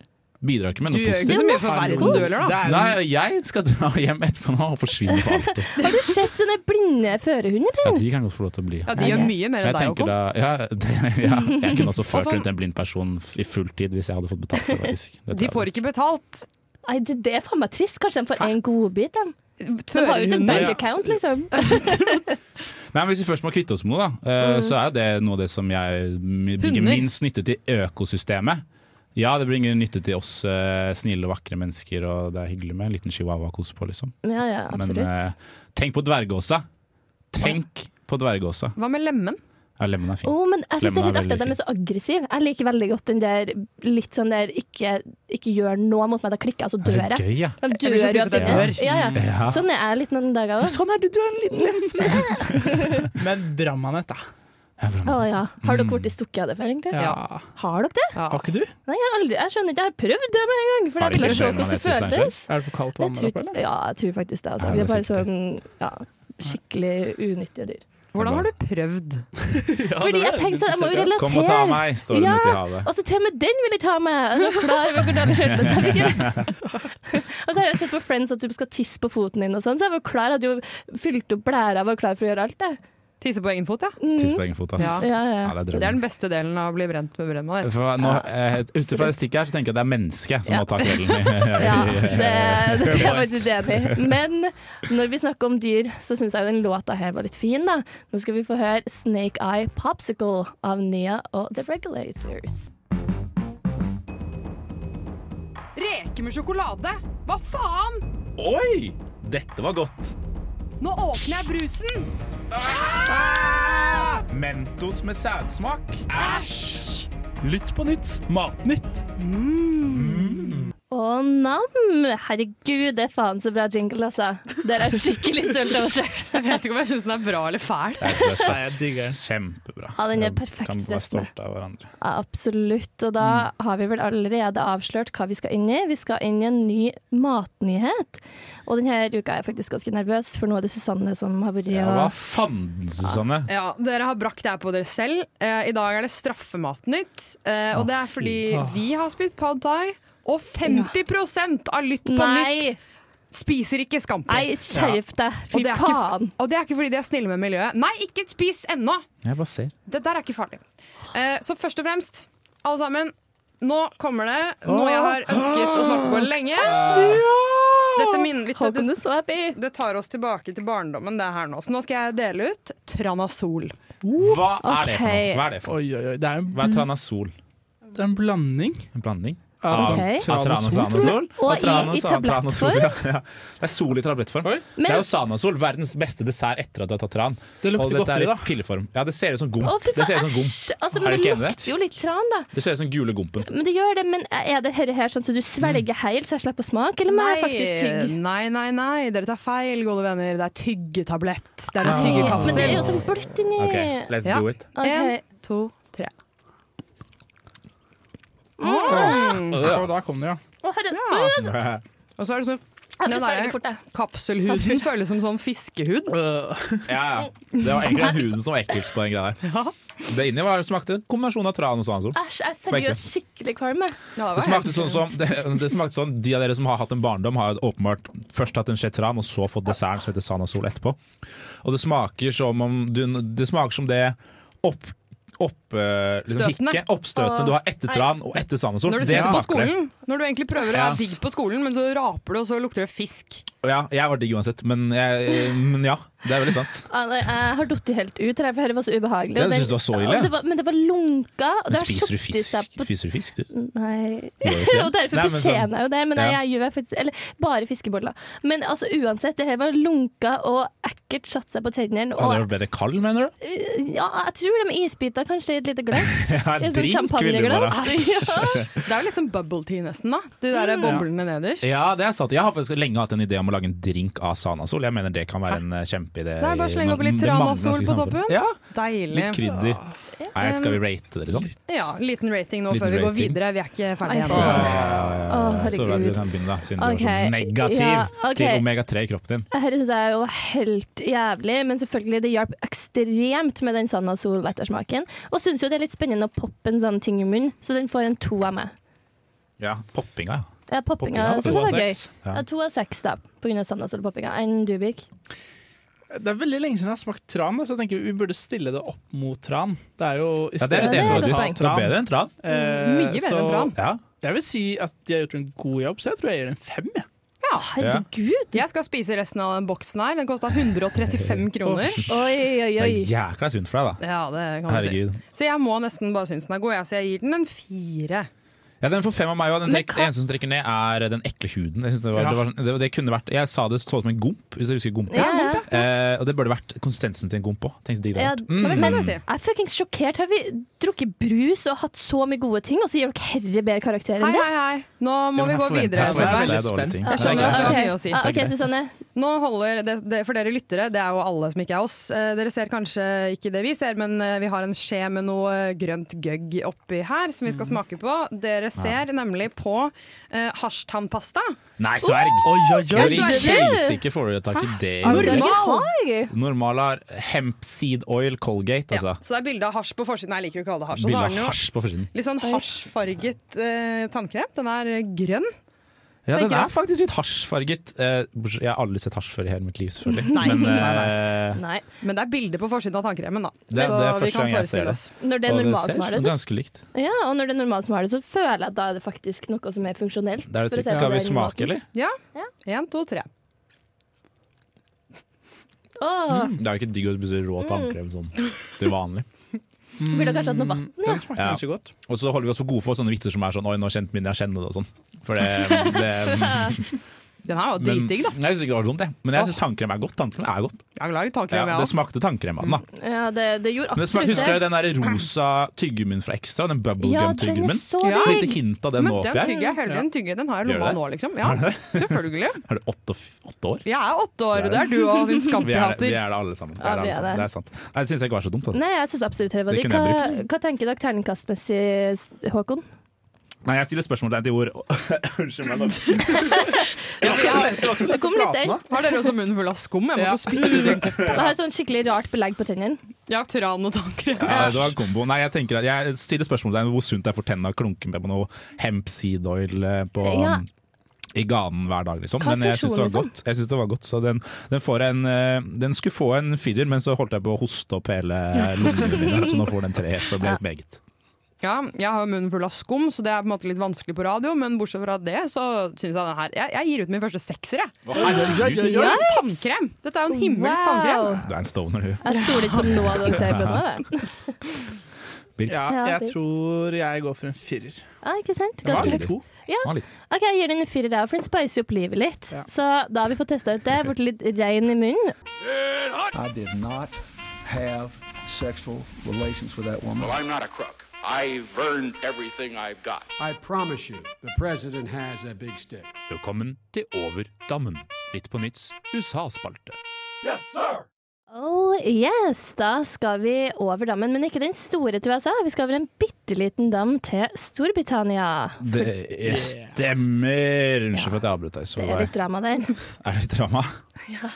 Speaker 6: Bidrar ikke med
Speaker 8: Du
Speaker 6: noe
Speaker 8: gjør ikke
Speaker 6: positivt.
Speaker 8: så mye for verden, du heller, da.
Speaker 7: Det er jo
Speaker 6: Nei, jeg skal dra hjem etterpå nå og forsvinne for alltid.
Speaker 5: Har du sett sånne blinde førerhunder?
Speaker 6: Ja, de kan godt få lov til å bli.
Speaker 8: Ja, de gjør mye mer enn
Speaker 6: Jeg
Speaker 8: deg,
Speaker 6: tenker
Speaker 8: Håkon.
Speaker 6: da ja, det, ja, Jeg kunne også ført
Speaker 8: Og sånn-
Speaker 6: rundt en blind person f- i full tid hvis jeg hadde fått betalt for det, faktisk. Dette
Speaker 8: De
Speaker 6: er-
Speaker 8: får ikke betalt.
Speaker 5: Nei, det, det er faen meg trist. Kanskje de får en godbit, de. De har jo ikke en
Speaker 8: Førerhunder.
Speaker 5: bank account, liksom.
Speaker 6: Nei, men Hvis vi først må kvitte oss med noe, da,
Speaker 5: Mm.
Speaker 6: eh, så er jo det noe av det som jeg bringer
Speaker 8: Hunder.
Speaker 6: minst nytte til økosystemet. Ja, det bringer nytte til oss eh, snille, vakre mennesker, og det er hyggelig med en liten chihuahua-kos på, liksom.
Speaker 5: Ja, ja,
Speaker 6: Men
Speaker 5: absolutt.
Speaker 6: eh, tenk på dvergåsa! Tenk på dvergåsa.
Speaker 8: Hva med lemen?
Speaker 6: Ja, Lemon er fin.
Speaker 5: Oh, men jeg synes det er litt
Speaker 6: Lemon er
Speaker 5: artig at de
Speaker 6: veldig
Speaker 5: er så aggressive. Jeg liker veldig godt den der litt sånn der ikke, ikke gjør noe mot meg, da klikker jeg, så
Speaker 6: det
Speaker 5: dør
Speaker 6: er
Speaker 5: jeg.
Speaker 6: gøy, ja.
Speaker 5: De
Speaker 8: Jeg
Speaker 5: dør jo
Speaker 8: vil ikke si at
Speaker 5: alltid.
Speaker 8: jeg dør.
Speaker 5: Ja, ja.
Speaker 6: ja.
Speaker 5: Sånn er jeg litt noen dager òg.
Speaker 7: Sånn er du, du er en liten lem. Men Bramanet, da.
Speaker 5: Å ja. Har dere blitt stukket av det før, egentlig?
Speaker 7: Ja.
Speaker 5: Har dere det?
Speaker 8: Ja.
Speaker 7: Har ikke du?
Speaker 5: Nei, jeg har aldri Jeg skjønner ikke, jeg har prøvd det med en gang, for
Speaker 6: Har dere
Speaker 5: jeg ville se
Speaker 6: ikke
Speaker 5: hvordan det
Speaker 6: skjønnet det til
Speaker 5: føltes.
Speaker 7: Er det for kaldt
Speaker 5: Jeg
Speaker 7: vann der oppe,
Speaker 5: tror,
Speaker 7: eller?
Speaker 5: ja, jeg tror faktisk det. Altså.
Speaker 6: Nei,
Speaker 5: Vi er
Speaker 6: det er
Speaker 5: bare sånn ja, skikkelig unyttige dyr.
Speaker 8: Hvordan har du prøvd?
Speaker 5: Fordi jeg tenkte sånn, jeg må jo
Speaker 6: Kom og ta
Speaker 5: relatere.
Speaker 6: meg, står hun
Speaker 5: Ja.
Speaker 6: ute i havet.
Speaker 5: Og så til og med den vil jeg ta med! Så klar over hvordan jeg skjønte det. Og så har jeg jo sett på Friends at du skal tisse på foten din, og sånn, så jeg var jo klar, jeg hadde jo fylt opp blæra, var klar for å gjøre alt, jeg.
Speaker 8: Tisse på egen fot, ja.
Speaker 5: Mm.
Speaker 6: Tiss på egen fot, ass.
Speaker 8: Ja.
Speaker 5: Ja, ja.
Speaker 6: Ja, det er
Speaker 8: Det er
Speaker 6: drømmen.
Speaker 8: den beste delen av å bli brent med brennmaner.
Speaker 6: For nå, eh, Ut ifra det stikket her, så tenker jeg at det er mennesket som
Speaker 5: Ja.
Speaker 6: må ta kvelden. i-
Speaker 5: Ja, det, det er jeg
Speaker 6: Point.
Speaker 5: faktisk enig i. Men når vi snakker om dyr, så syns jeg jo den låta her var litt fin, da. Nå skal vi få høre 'Snake Eye Popsicle' av Nia og The Regulators.
Speaker 8: Reker med sjokolade! Hva faen?
Speaker 6: Oi! Dette var godt.
Speaker 8: Nå åpner jeg brusen!
Speaker 6: Mentos med sædsmak. Æsj! Lytt på nytt. Matnytt.
Speaker 5: Å, nam! Herregud, det er faen så bra jingle, altså. Det er jeg skikkelig stolt over sjøl.
Speaker 8: Jeg vet ikke om jeg syns den er bra eller fæl.
Speaker 7: Nei, jeg digger den.
Speaker 6: Kjempebra.
Speaker 5: Ja, den er
Speaker 6: Jeg
Speaker 5: perfekt
Speaker 6: Kan være
Speaker 5: dress med.
Speaker 6: stolte av hverandre.
Speaker 5: Ja, absolutt. Og da har vi vel allerede avslørt hva vi skal inn i. Vi skal inn i en ny matnyhet. Og denne uka er jeg faktisk ganske nervøs, for nå er det Susanne som har vært
Speaker 6: Ja,
Speaker 5: og-
Speaker 6: hva fanden, Susanne?
Speaker 8: Ja, Dere har brakt det her på dere selv. Eh, I dag er det straffematnytt. Eh, og det er fordi
Speaker 5: Ah,
Speaker 8: vi har spist pad thai, og 50 av Lytt på
Speaker 5: Nei.
Speaker 8: nytt spiser ikke skampi.
Speaker 5: Nei, skjerp deg. Fy
Speaker 8: Og det, er ikke,
Speaker 5: faen.
Speaker 8: og det er ikke fordi de er snille med miljøet. Nei, ikke spis ennå!
Speaker 6: Jeg bare ser.
Speaker 8: Det der er ikke farlig. Eh, så først og fremst, alle sammen. Nå kommer det noe jeg har ønsket å snakke på lenge. Dette minner litt
Speaker 5: Håkon
Speaker 8: det,
Speaker 5: er så happy.
Speaker 8: det tar oss tilbake til barndommen, det her nå. Så nå skal jeg dele ut Tranasol.
Speaker 6: Hva er det for noe?
Speaker 5: Ok.
Speaker 6: Hva er det for noe?
Speaker 7: Oi, oi, oi. Det er en,
Speaker 6: Hva er tranasol?
Speaker 7: det er en blanding
Speaker 6: En blanding?
Speaker 7: av
Speaker 5: Ok.
Speaker 6: Av
Speaker 7: tranasol, tror jeg.
Speaker 6: tranasol?
Speaker 5: Og
Speaker 6: Av
Speaker 5: i-
Speaker 6: tranas-
Speaker 5: i
Speaker 6: tranasol,
Speaker 5: tablettform?
Speaker 6: ja, ja. Det er sol i tablettform.
Speaker 7: Oi.
Speaker 6: det er
Speaker 5: Men-
Speaker 6: jo Sanasol, verdens beste dessert etter at du har tatt tran.
Speaker 7: Det
Speaker 6: Og
Speaker 7: lukter
Speaker 6: dette er
Speaker 7: godteri,
Speaker 6: i
Speaker 7: da.
Speaker 6: pilleform. Ja, det ser ut som gomp.
Speaker 5: Å, fy
Speaker 6: det ser ut
Speaker 5: faen,
Speaker 6: som gomp.
Speaker 5: æsj. Altså,
Speaker 6: Er
Speaker 5: men
Speaker 6: du ikke enig
Speaker 5: det
Speaker 6: i det?
Speaker 5: lukter jo litt tran, da.
Speaker 6: Det ser ut som gule gompen.
Speaker 5: Men det gjør det, men er det her, her sånn så du
Speaker 6: Mm.
Speaker 5: svelger helt så jeg slipper å smake, eller må jeg faktisk tygge?
Speaker 8: nei, nei, nei. Dere tar feil, gode venner. Det er tyggetablett. Det er en
Speaker 5: Men det er
Speaker 8: tyggekapsel.
Speaker 5: jo sånn bløtt inni.
Speaker 6: Ok, let's
Speaker 8: Ja.
Speaker 6: do it.
Speaker 5: Ok.
Speaker 8: En, to, tre.
Speaker 6: Mm.
Speaker 7: Og da kom det, ja.
Speaker 5: Å, herre-
Speaker 8: Ja. Og så er det sånn
Speaker 5: Ja, men
Speaker 8: Den
Speaker 5: svelger
Speaker 8: der-
Speaker 5: fort, jeg.
Speaker 8: Kapselhuden føles som sånn fiskehud.
Speaker 6: Ja, ja. Det var egentlig den huden som var ekkelt på den greia der. Det inni var, smakte en kombinasjon av tran og sanasol.
Speaker 5: Æsj, jeg er seriøst skikkelig kvalm. jeg.
Speaker 8: Ja,
Speaker 6: Det smakte sånn som det, det smakte sånn, De av dere som har hatt en barndom, har åpenbart først hatt en skje tran, og så fått desserten som heter Sanasol etterpå. Og det smaker som om du, Det smaker som det opp, opp, eh, liksom,
Speaker 8: Støtene.
Speaker 6: hikket, oppstøtene du har etter tran og etter Sanasol.
Speaker 8: Når du
Speaker 6: Det
Speaker 8: sitter på
Speaker 6: smaker det.
Speaker 8: skolen, når du egentlig prøver å være digg på skolen, men så raper du, og så lukter det fisk.
Speaker 6: Ja, jeg var digg uansett, men, jeg, men ja. Det er veldig sant.
Speaker 5: Ja, nei, Jeg har falt helt ut, her, for dette var så ubehagelig.
Speaker 6: Jeg
Speaker 5: Og den-
Speaker 6: synes det var så ille.
Speaker 5: Ja, det var- Men det var lunka. Og det
Speaker 6: Men
Speaker 5: har
Speaker 6: spiser du
Speaker 5: satt i seg
Speaker 6: fisk?
Speaker 5: på-
Speaker 6: Spiser du fisk, du?
Speaker 5: Nei.
Speaker 6: Du gjør jo ikke det.
Speaker 5: Og derfor
Speaker 6: Nei, men sånn-
Speaker 5: fortjener jeg jo det, men
Speaker 6: Ja.
Speaker 5: jeg gjør faktisk Eller bare fiskeboller. Men altså, uansett, det her var lunka og ekkelt satt seg på
Speaker 6: Hadde det
Speaker 5: tennene. Og øh,
Speaker 6: vært bedre kald, mener du?
Speaker 5: ja, jeg tror det med isbiter, kanskje i et lite glass.
Speaker 6: Ja,
Speaker 5: I et sånt
Speaker 6: drink ville det være.
Speaker 5: champagneglass. Ja.
Speaker 8: Det er jo liksom bubble tea nesten, da. De der
Speaker 5: Mm.
Speaker 8: boblene nederst.
Speaker 6: Ja, det er sant. Jeg har faktisk lenge hatt en idé om å lage en drink av Sanasol. Jeg mener det kan være en eh, kjempeidé.
Speaker 8: Det er bare å
Speaker 6: i-
Speaker 8: slenge oppi litt
Speaker 6: det mangler
Speaker 8: Tranasol
Speaker 6: ganske
Speaker 8: på
Speaker 6: samfunn.
Speaker 8: toppen.
Speaker 6: Ja,
Speaker 8: Deilig.
Speaker 6: litt krydder. Nei, skal vi rate det, liksom?
Speaker 8: Ja, liten rating nå
Speaker 6: Liten
Speaker 8: før vi går
Speaker 6: rating.
Speaker 8: videre. Vi er ikke ferdige
Speaker 5: Ai,
Speaker 8: ennå.
Speaker 5: faen. Å,
Speaker 6: Så
Speaker 5: herregud.
Speaker 6: vel, du kan begynne, da, siden du var
Speaker 5: Ok,
Speaker 6: så negativ
Speaker 5: ja, ok.
Speaker 6: til omega-3 i kroppen din.
Speaker 5: Dette syns jeg er jo helt jævlig, men selvfølgelig det hjalp ekstremt med den sanda sol-ettersmaken. Og syns jo det er litt spennende å poppe en sånn ting i munnen, så den får en to av meg.
Speaker 6: Ja, poppinga. ja.
Speaker 5: Ja,
Speaker 6: Poppinga
Speaker 5: poppinga.
Speaker 6: var
Speaker 5: Så
Speaker 6: to
Speaker 5: det
Speaker 6: av
Speaker 5: var gøy.
Speaker 6: seks. Ja.
Speaker 5: Ja, to av seks, da, på grunn av sanda sol-poppinga. Enn du, Birk?
Speaker 7: Det er veldig lenge siden jeg har smakt tran, da, så jeg tenker vi burde stille det opp mot tran. Det er jo i
Speaker 6: Ja, det er
Speaker 7: stedet
Speaker 6: litt enig
Speaker 5: Ja,
Speaker 7: for
Speaker 5: det er
Speaker 6: faktisk.
Speaker 5: sant.
Speaker 7: å ta
Speaker 6: Det er bedre enn tran.
Speaker 7: Eh,
Speaker 8: Mm, Mye bedre enn
Speaker 7: så
Speaker 8: tran.
Speaker 6: Ja.
Speaker 7: Jeg vil si at de har gjort en god jobb, så jeg tror jeg gir en fem. jeg.
Speaker 5: Å, herregud!
Speaker 8: Jeg skal spise resten av den boksen her. Den kosta 135 kroner.
Speaker 5: Oi, oi,
Speaker 6: Det
Speaker 5: oi.
Speaker 6: er jækla sunt for deg, da.
Speaker 8: Ja, det kan man si.
Speaker 6: Herregud.
Speaker 8: Så jeg må nesten bare synes den er god, jeg. Så jeg gir den en fire.
Speaker 6: Jeg Ja, den får fem av meg òg. Den
Speaker 5: Men
Speaker 6: trekk-
Speaker 5: hva-
Speaker 6: det eneste som trekker ned, er eh, den ekle huden. Jeg, synes det var,
Speaker 7: Ja.
Speaker 6: det var, sånn- det, det kunne vært, jeg sa det så ut som en gomp, hvis jeg husker gomp.
Speaker 5: Ja, ja.
Speaker 6: Eh, og det burde vært konsistensen til en gomp òg.
Speaker 5: Ja,
Speaker 8: Men det kan
Speaker 6: Mm.
Speaker 8: du si.
Speaker 5: Jeg er fuckings sjokkert. Har vi drukket brus og hatt så mye gode ting, og så gir dere herre bedre karakter
Speaker 8: Hei,
Speaker 5: enn det?
Speaker 8: hei, hei. Nå må vi gå videre.
Speaker 6: Jeg forventer
Speaker 7: jeg Solveig.
Speaker 8: Solveig.
Speaker 7: veldig
Speaker 6: deg dårlige
Speaker 7: spent.
Speaker 6: ting.
Speaker 8: Jeg
Speaker 6: Det er
Speaker 8: skjønner at
Speaker 6: greit.
Speaker 8: det
Speaker 5: Ok.
Speaker 8: er mye å si.
Speaker 5: Ja,
Speaker 6: Det
Speaker 5: ok,
Speaker 6: er greit.
Speaker 5: Susanne.
Speaker 8: Nå holder det, det, For dere lyttere, det er jo alle som ikke er oss. Eh, Dere ser kanskje ikke det vi ser, men eh, vi har en skje med noe eh, grønt gøgg oppi her som vi
Speaker 6: Mm.
Speaker 8: skal smake på. Dere ser nemlig på eh, hasjtannpasta.
Speaker 6: Nei, sverg!
Speaker 7: Oi, oi,
Speaker 6: Jeg
Speaker 7: oi.
Speaker 5: Yes.
Speaker 6: vil
Speaker 5: sverger!
Speaker 6: helse ikke foretak i det.
Speaker 5: Er
Speaker 6: Normal,
Speaker 5: det ikke
Speaker 8: Normal.
Speaker 5: hard?
Speaker 6: Normal har hemp seed oil Colgate,
Speaker 8: Ja,
Speaker 6: altså.
Speaker 8: så det er bilde av hasj på forsiden. Nei, jeg liker jo ikke å kalle det hasj. Og så
Speaker 6: Bilde
Speaker 8: har den
Speaker 6: av
Speaker 8: jo
Speaker 6: hasj på forsiden.
Speaker 8: litt sånn hasjfarget eh, tannkrem. Den er eh, grønn.
Speaker 6: Ja, den
Speaker 8: Tenker
Speaker 6: er
Speaker 8: jeg.
Speaker 6: faktisk litt hasjfarget. Eh, bortsett- jeg har aldri sett hasj før i hele mitt liv, selvfølgelig.
Speaker 8: Nei,
Speaker 6: Men
Speaker 8: nei,
Speaker 6: eh,
Speaker 5: Nei.
Speaker 8: Men det er bilde på forsiden av tannkremen, da.
Speaker 6: det, er-
Speaker 8: Så
Speaker 6: det er
Speaker 8: vi
Speaker 6: første
Speaker 8: kan
Speaker 6: gang jeg
Speaker 8: forestille
Speaker 6: ser det.
Speaker 8: oss.
Speaker 5: Når det er
Speaker 6: Og
Speaker 5: normalt som
Speaker 6: ser
Speaker 5: har det, så,
Speaker 6: ganske likt.
Speaker 5: ja, og når det er normalt som har det, så føler jeg at da er det faktisk noe som er
Speaker 6: Det
Speaker 5: funksjonelt.
Speaker 6: er
Speaker 5: for å
Speaker 6: det
Speaker 5: si
Speaker 6: Skal vi
Speaker 5: den
Speaker 6: smake,
Speaker 5: måten.
Speaker 6: eller?
Speaker 8: Ja.
Speaker 5: Ja.
Speaker 8: Én, to, tre.
Speaker 5: Åh,
Speaker 6: Det er jo ikke digg å spise rå tannkrem sånn
Speaker 5: Mm.
Speaker 6: til vanlig.
Speaker 8: Mm.
Speaker 5: Burde kanskje hatt noe vann, ja.
Speaker 7: Den smakte
Speaker 6: Ja.
Speaker 7: ganske godt.
Speaker 6: Og så holder vi oss for gode for sånne vitser som er sånn Oi, nå kjente min jeg kjenner det og sånn. For det, det
Speaker 8: Den her
Speaker 6: men,
Speaker 8: var dritdigg, da.
Speaker 6: Nei, Jeg syns ikke det var dumt, jeg. Men jeg syns tannkrem er godt. Tannkrem er godt.
Speaker 8: Jeg har
Speaker 6: Ja,
Speaker 8: laget tannkrem, jeg
Speaker 6: det
Speaker 8: også.
Speaker 6: smakte tannkrem av den, da.
Speaker 5: ja, det, det gjorde
Speaker 6: Mm. Men det smakte,
Speaker 5: absolutt
Speaker 6: husker dere den der rosa tyggummien fra Ekstra? Den
Speaker 5: Ja, den er
Speaker 6: bubblegum-tyggummien?
Speaker 5: så
Speaker 8: Ja.
Speaker 5: digg!
Speaker 6: Lite hint av den nå
Speaker 8: Men den
Speaker 6: håper jeg.
Speaker 8: tygger jeg hele tiden. Tygger. Den har jeg i
Speaker 6: Gjør
Speaker 8: lomma
Speaker 6: det?
Speaker 8: nå, liksom. Ja, selvfølgelig.
Speaker 6: Er det åtte, åtte år?
Speaker 8: Jeg er åtte
Speaker 6: Det
Speaker 8: år,
Speaker 6: er
Speaker 8: det er du og din
Speaker 6: Vi er, det, vi
Speaker 8: skamprater.
Speaker 6: er det alle sammen. Det
Speaker 5: Ja,
Speaker 6: er, det
Speaker 5: vi
Speaker 6: alle sammen. Det
Speaker 5: er det.
Speaker 6: er sant. Nei, det syns jeg ikke var så dumt. Altså.
Speaker 5: Nei, jeg syns absolutt det var
Speaker 6: Det
Speaker 5: digg.
Speaker 6: kunne jeg
Speaker 5: Hva, hva tenker dere terningkastmessig, s- Håkon?
Speaker 6: Nei, jeg stiller spørsmål til hvor Unnskyld meg. nå.
Speaker 5: Det kom litt der.
Speaker 8: Har dere også munnen full av skum? Jeg måtte spytte ut en kopp.
Speaker 5: Jeg har et sånn skikkelig rart belegg på tennene.
Speaker 8: Jeg har tran og tannkrem.
Speaker 6: Ja, det var en kombo. Nei, jeg, tenker at jeg stiller spørsmål til deg hvor sunt det er for tenna å klunke med på noe hemp seed oil eh, på,
Speaker 5: Ja.
Speaker 6: i ganen hver dag, liksom.
Speaker 5: Hva er
Speaker 6: Men jeg syns det, var
Speaker 5: funksjonen,
Speaker 6: godt. Jeg synes det var godt. Så den, den, får en, eh, den skulle få en firer, men så holdt jeg på å hoste opp hele lungene mine, så nå får den tre. For det ble helt meget.
Speaker 8: Ja, jeg har jo munnen full av skum, så det er på en måte litt vanskelig på radio. Men bortsett fra det, så syns jeg den her Jeg, jeg gir ut min første sekser, jeg. Ja, tannkrem! Dette er jo en himmelsk tannkrem.
Speaker 6: Du er en stoner, du.
Speaker 5: Jeg stoler ikke på noe av det dere sier på nå. jeg.
Speaker 7: Ja,
Speaker 5: Ja,
Speaker 7: jeg
Speaker 5: fint.
Speaker 7: tror jeg går for en firer.
Speaker 5: Ja, ikke sant?
Speaker 7: Den var
Speaker 5: Ganske
Speaker 7: litt god.
Speaker 6: Den var litt-
Speaker 5: Ok, jeg gir den en firer der, for den spicer opp livet litt.
Speaker 7: Ja.
Speaker 5: Så da har vi fått testa ut det. Blitt litt rein i munnen.
Speaker 9: I did not have sexual relations with that woman.
Speaker 11: I'm not a crook. I've earned everything I've got.
Speaker 12: I promise you, the president has a big stick.
Speaker 6: Velkommen til Over dammen. Litt på nytts USA-spalte.
Speaker 5: Oh yes, da skal vi over dammen, men ikke den store til USA. Vi skal over en bitte liten dam til Storbritannia.
Speaker 6: Det er stemmer! Unnskyld for at jeg avbrøt deg. Så
Speaker 5: Det er litt drama der.
Speaker 6: Er det litt drama? Ja,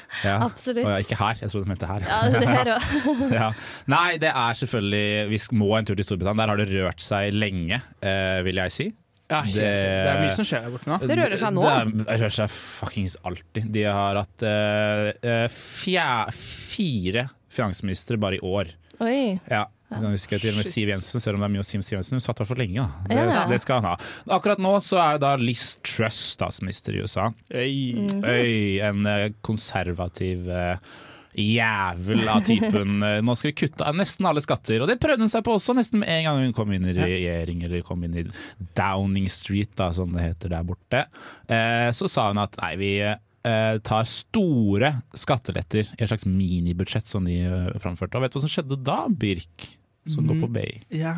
Speaker 5: absolutt.
Speaker 6: Å ja, ikke her, jeg trodde du mente her.
Speaker 5: Ja, det her òg.
Speaker 6: ja. Nei, det er selvfølgelig Vi sk- må en tur til Storbritannia. Der har det rørt seg lenge, eh, vil jeg si.
Speaker 7: Ja, helt,
Speaker 6: Det-
Speaker 7: det... det er mye som skjer der borte nå.
Speaker 8: Det rører seg nå.
Speaker 6: Det, det rører seg fuckings alltid. De har hatt eh, eh, fja, fire finansministre bare i år.
Speaker 5: Oi.
Speaker 6: Ja. Jeg kan huske til og med Siv Jensen, selv om det er mye å si om Siv Jensen. Hun satt i hvert fall lenge, da. Det,
Speaker 5: Ja.
Speaker 6: det skal han ha. Akkurat nå så er jo da Liz Truss statsminister i USA.
Speaker 7: Øy.
Speaker 8: Mm.
Speaker 6: Øy, en eh, konservativ eh, jævel av typen eh, Nå skal vi kutte av nesten alle skatter. Og det prøvde hun seg på også, nesten med en gang hun kom inn i regjering, eller kom inn i Downing Street, da, som det heter der borte. Eh, Så sa hun at nei, vi eh, tar store skatteletter i et slags minibudsjett som de eh, framførte. Og vet du hva som skjedde da, Birk? Som går på Bay.
Speaker 7: Ja.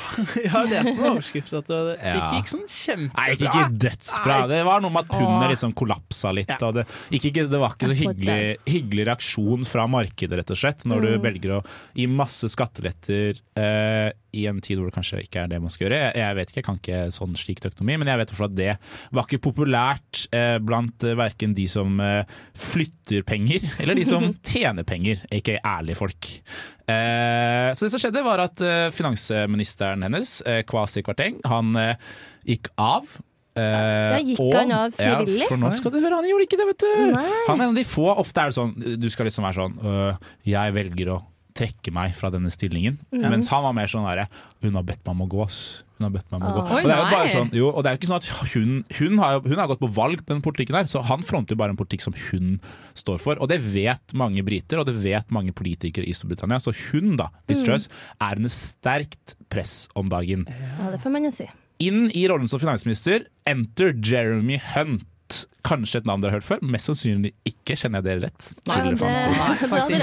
Speaker 7: Jeg har lest noen overskrifter at det ikke
Speaker 6: Ja.
Speaker 7: gikk sånn kjempebra.
Speaker 6: Nei, ikke, ikke dødsbra. Det var noe med at pundet
Speaker 7: Åh.
Speaker 6: liksom kollapsa litt.
Speaker 7: Ja.
Speaker 6: Og det, ikke, ikke, det var ikke så
Speaker 5: Jeg får
Speaker 6: hyggelig, hyggelig reaksjon fra markedet, rett og slett, når
Speaker 5: Mm.
Speaker 6: du velger å gi masse skatteletter eh, i en tid hvor det kanskje ikke er det man skal gjøre. Jeg, jeg vet ikke, jeg kan ikke sånn slik økonomi, men jeg vet i hvert fall at det var ikke populært eh, blant eh, verken de som eh, flytter penger, eller de som tjener penger, ikke ærlige folk. Eh, så det som skjedde var at eh, finansministeren hennes, eh, Kwasi Kwarteng, han eh, gikk av. eh,
Speaker 5: Ja, gikk
Speaker 6: og-
Speaker 5: han av frivillig?
Speaker 6: Ja, for nå skal du høre, han gjorde ikke det, vet du!
Speaker 5: Nei.
Speaker 6: Han er en av de få. Ofte er det sånn, du skal liksom være sånn øh, Jeg velger å trekke meg fra denne stillingen. Mens han var mer sånn derre Hun har bedt meg om å gå, ass. Hun har bedt meg om å gå.
Speaker 5: Åh.
Speaker 8: Oi,
Speaker 6: Og det er jo bare
Speaker 8: nei.
Speaker 6: sånn, jo, og det er jo ikke sånn at hun, hun, har, jo- hun har gått på valg på den politikken der, så han fronter jo bare en politikk som hun står for. Og det vet mange briter, og det vet mange politikere i Storbritannia.
Speaker 5: Mm.
Speaker 6: Så hun, da, Liz Truss, er under sterkt press om dagen.
Speaker 5: Ja, det får man jo si.
Speaker 6: Inn i rollen som finansminister, enter Jeremy Hunt. Kanskje et navn dere har hørt før, mest sannsynlig ikke, kjenner jeg dere rett.
Speaker 5: Ja, det-
Speaker 6: Tullefant.
Speaker 5: Nei, da hadde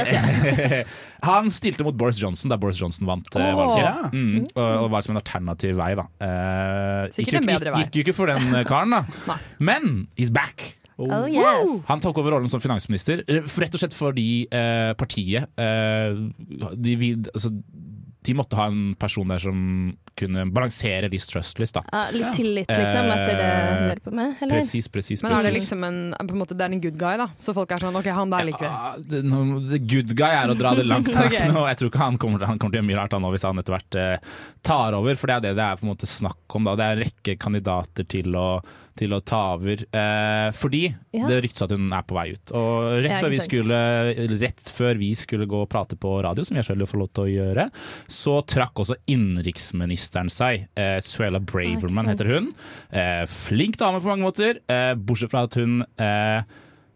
Speaker 5: dere
Speaker 6: Han stilte mot Boris Johnson da Boris Johnson vant eh,
Speaker 5: Åh.
Speaker 6: valget. Mm, og, og var som en alternativ vei, da. Eh,
Speaker 8: Sikkert
Speaker 6: gikk jo
Speaker 8: en
Speaker 6: ikke-
Speaker 8: bedre vei.
Speaker 6: Gikk jo ikke for den eh, karen, da. Men he's back!
Speaker 5: Oh, yes. Woo!
Speaker 6: Han tok over rollen som finansminister, eh, rett og slett fordi eh, partiet eh, de, vid- altså, de måtte ha en person der som kunne balansere distrust list, da.
Speaker 5: Ja, litt tillit, liksom,
Speaker 6: Eh,
Speaker 5: etter det hun holder på med? Eller?
Speaker 6: Presis, presis,
Speaker 8: Men er det
Speaker 6: presis.
Speaker 8: liksom en, på en måte, det er en good guy, da? Så folk er sånn OK, han der liker vi.
Speaker 6: Ah, det, nå- the good guy er å dra det langt.
Speaker 8: Ok.
Speaker 6: nå. Jeg tror ikke han kommer, til- han kommer til å gjøre mye rart han, nå hvis han etter hvert eh, tar over, for det er det det er på en måte snakk om. Da. Det er en rekke kandidater til å, til å ta over, eh, fordi
Speaker 5: Ja.
Speaker 6: det ryktes at hun er på vei ut. Og rett,
Speaker 5: Ja,
Speaker 6: før
Speaker 5: ikke
Speaker 6: vi
Speaker 5: sant.
Speaker 6: skulle, rett før vi skulle gå og prate på radio, som jeg selv får lov til å gjøre, så trakk også innenriksministeren seg. Eh, Suella Braverman
Speaker 5: sant.
Speaker 6: heter hun. Eh, flink dame på mange måter, eh, bortsett fra at hun eh,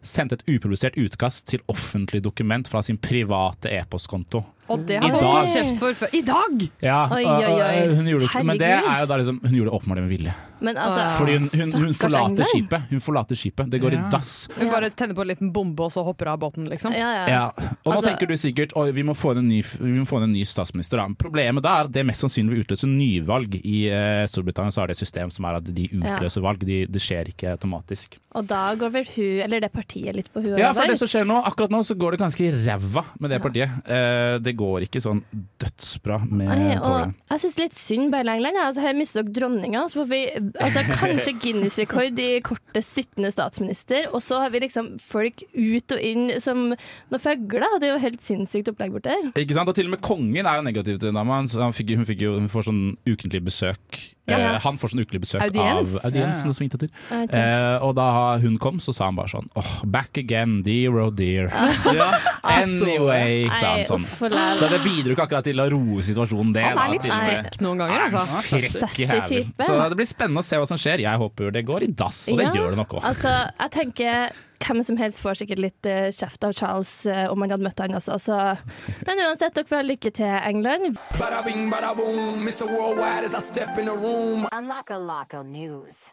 Speaker 6: sendte et upublisert utkast til offentlig dokument fra sin private e-postkonto.
Speaker 8: Og det
Speaker 6: I
Speaker 8: har folk fått
Speaker 6: dag.
Speaker 8: kjeft for før. I dag!
Speaker 6: Ja,
Speaker 5: Oi,
Speaker 6: og- og, eh,
Speaker 5: oi, oi.
Speaker 6: Hun gjorde, det ikke- men det
Speaker 5: Herregud.
Speaker 6: er jo da liksom, hun gjorde det åpenbart med vilje.
Speaker 5: Men altså,
Speaker 6: Fordi hun, hun, hun,
Speaker 5: stakkars
Speaker 6: forlater
Speaker 5: England.
Speaker 6: skipet. Hun forlater skipet. Det går i dass.
Speaker 8: Hun bare tenner på en liten bombe, og så hopper av båten, liksom.
Speaker 5: Ja, ja.
Speaker 6: Ja. Og nå
Speaker 5: Altså-
Speaker 6: tenker du sikkert at vi må få inn en ny, vi må få inn en ny statsminister. Da. Problemet da er at det mest sannsynlig vil utløse nyvalg. I eh, Storbritannia så er det et system som er at de utløser valg, de, det skjer ikke automatisk.
Speaker 5: Og da går vel hun, eller det partiet, litt på hun
Speaker 6: Ja,
Speaker 5: over?
Speaker 6: for det som skjer nå, akkurat nå så går det ganske ræva med det partiet. Eh, det går ikke sånn dødsbra
Speaker 5: Nei,
Speaker 6: med
Speaker 5: Eh, og
Speaker 6: toget.
Speaker 5: jeg syns litt synd på hele England. ja. Altså, her mister dere dronninga. Så får vi altså, kanskje Guinness-rekord i kortest sittende statsminister. Og så har vi liksom folk ut og inn som noen fugler. Det er jo helt sinnssykt opplegg borti her.
Speaker 6: Ikke sant? Og til og med kongen er jo negativ til dama. Han- så Han fikk, hun, fikk jo, hun får sånn ukentlig besøk.
Speaker 5: Ja.
Speaker 6: Eh, han får sånn ukentlig besøk
Speaker 5: Audiens.
Speaker 6: av audiens,
Speaker 5: Ja.
Speaker 6: noe som hintet til.
Speaker 5: Ja, ikke sant.
Speaker 6: Eh, og da hun kom, så sa han bare sånn Åh, back again, dear oh dear.
Speaker 5: Ja.
Speaker 6: Anyway, sa han
Speaker 5: Altså, Nei,
Speaker 6: sånn.
Speaker 5: uff, la-
Speaker 6: Så det bidro ikke akkurat til å roe situasjonen, det.
Speaker 8: Han
Speaker 6: da,
Speaker 8: er litt
Speaker 6: til eh, og med-
Speaker 8: frekk noen ganger, altså.
Speaker 6: Frekke
Speaker 5: Sassy
Speaker 6: jævel.
Speaker 5: type.
Speaker 6: Så det blir spennende å se hva som skjer. Jeg håper det går i dass, og det
Speaker 5: Ja,
Speaker 6: gjør det nok òg.
Speaker 5: Altså, jeg tenker hvem som helst får sikkert litt eh, kjeft av Charles eh, om han hadde møtt han, altså. Så. Men uansett, dere får ha lykke til, England.
Speaker 13: Bada bing, bada boom. Mr. Worldwide as I step in the room. Unlocka locka news.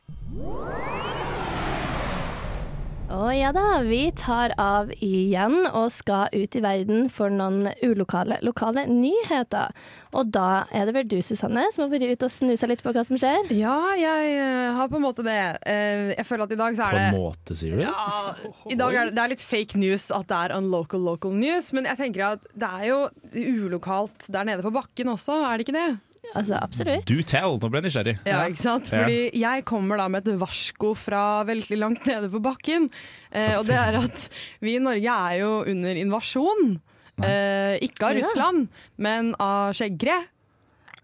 Speaker 5: Å ja da, vi tar av igjen og skal ut i verden for noen ulokale lokale nyheter. Og da er det vel du, Susanne, som har vært ute og snusa litt på hva som skjer?
Speaker 8: Ja, jeg eh, har på en måte det. Eh, Jeg føler at i dag
Speaker 6: På
Speaker 8: så er det
Speaker 6: en måte, sier du?
Speaker 8: Ja, I dag er det, det er litt fake news at det er unlocal local news, men jeg tenker at det er jo ulokalt der nede på bakken også, er det ikke det?
Speaker 5: Altså, absolutt.
Speaker 6: Do tell, nå ble jeg nysgjerrig.
Speaker 8: Ja, ikke sant?
Speaker 6: Ja.
Speaker 8: Fordi jeg kommer da med et varsko fra veldig langt nede på bakken. Eh, og det er at vi i Norge er jo under invasjon. Eh, ikke av
Speaker 5: Ja.
Speaker 8: Russland, men av skjeggere.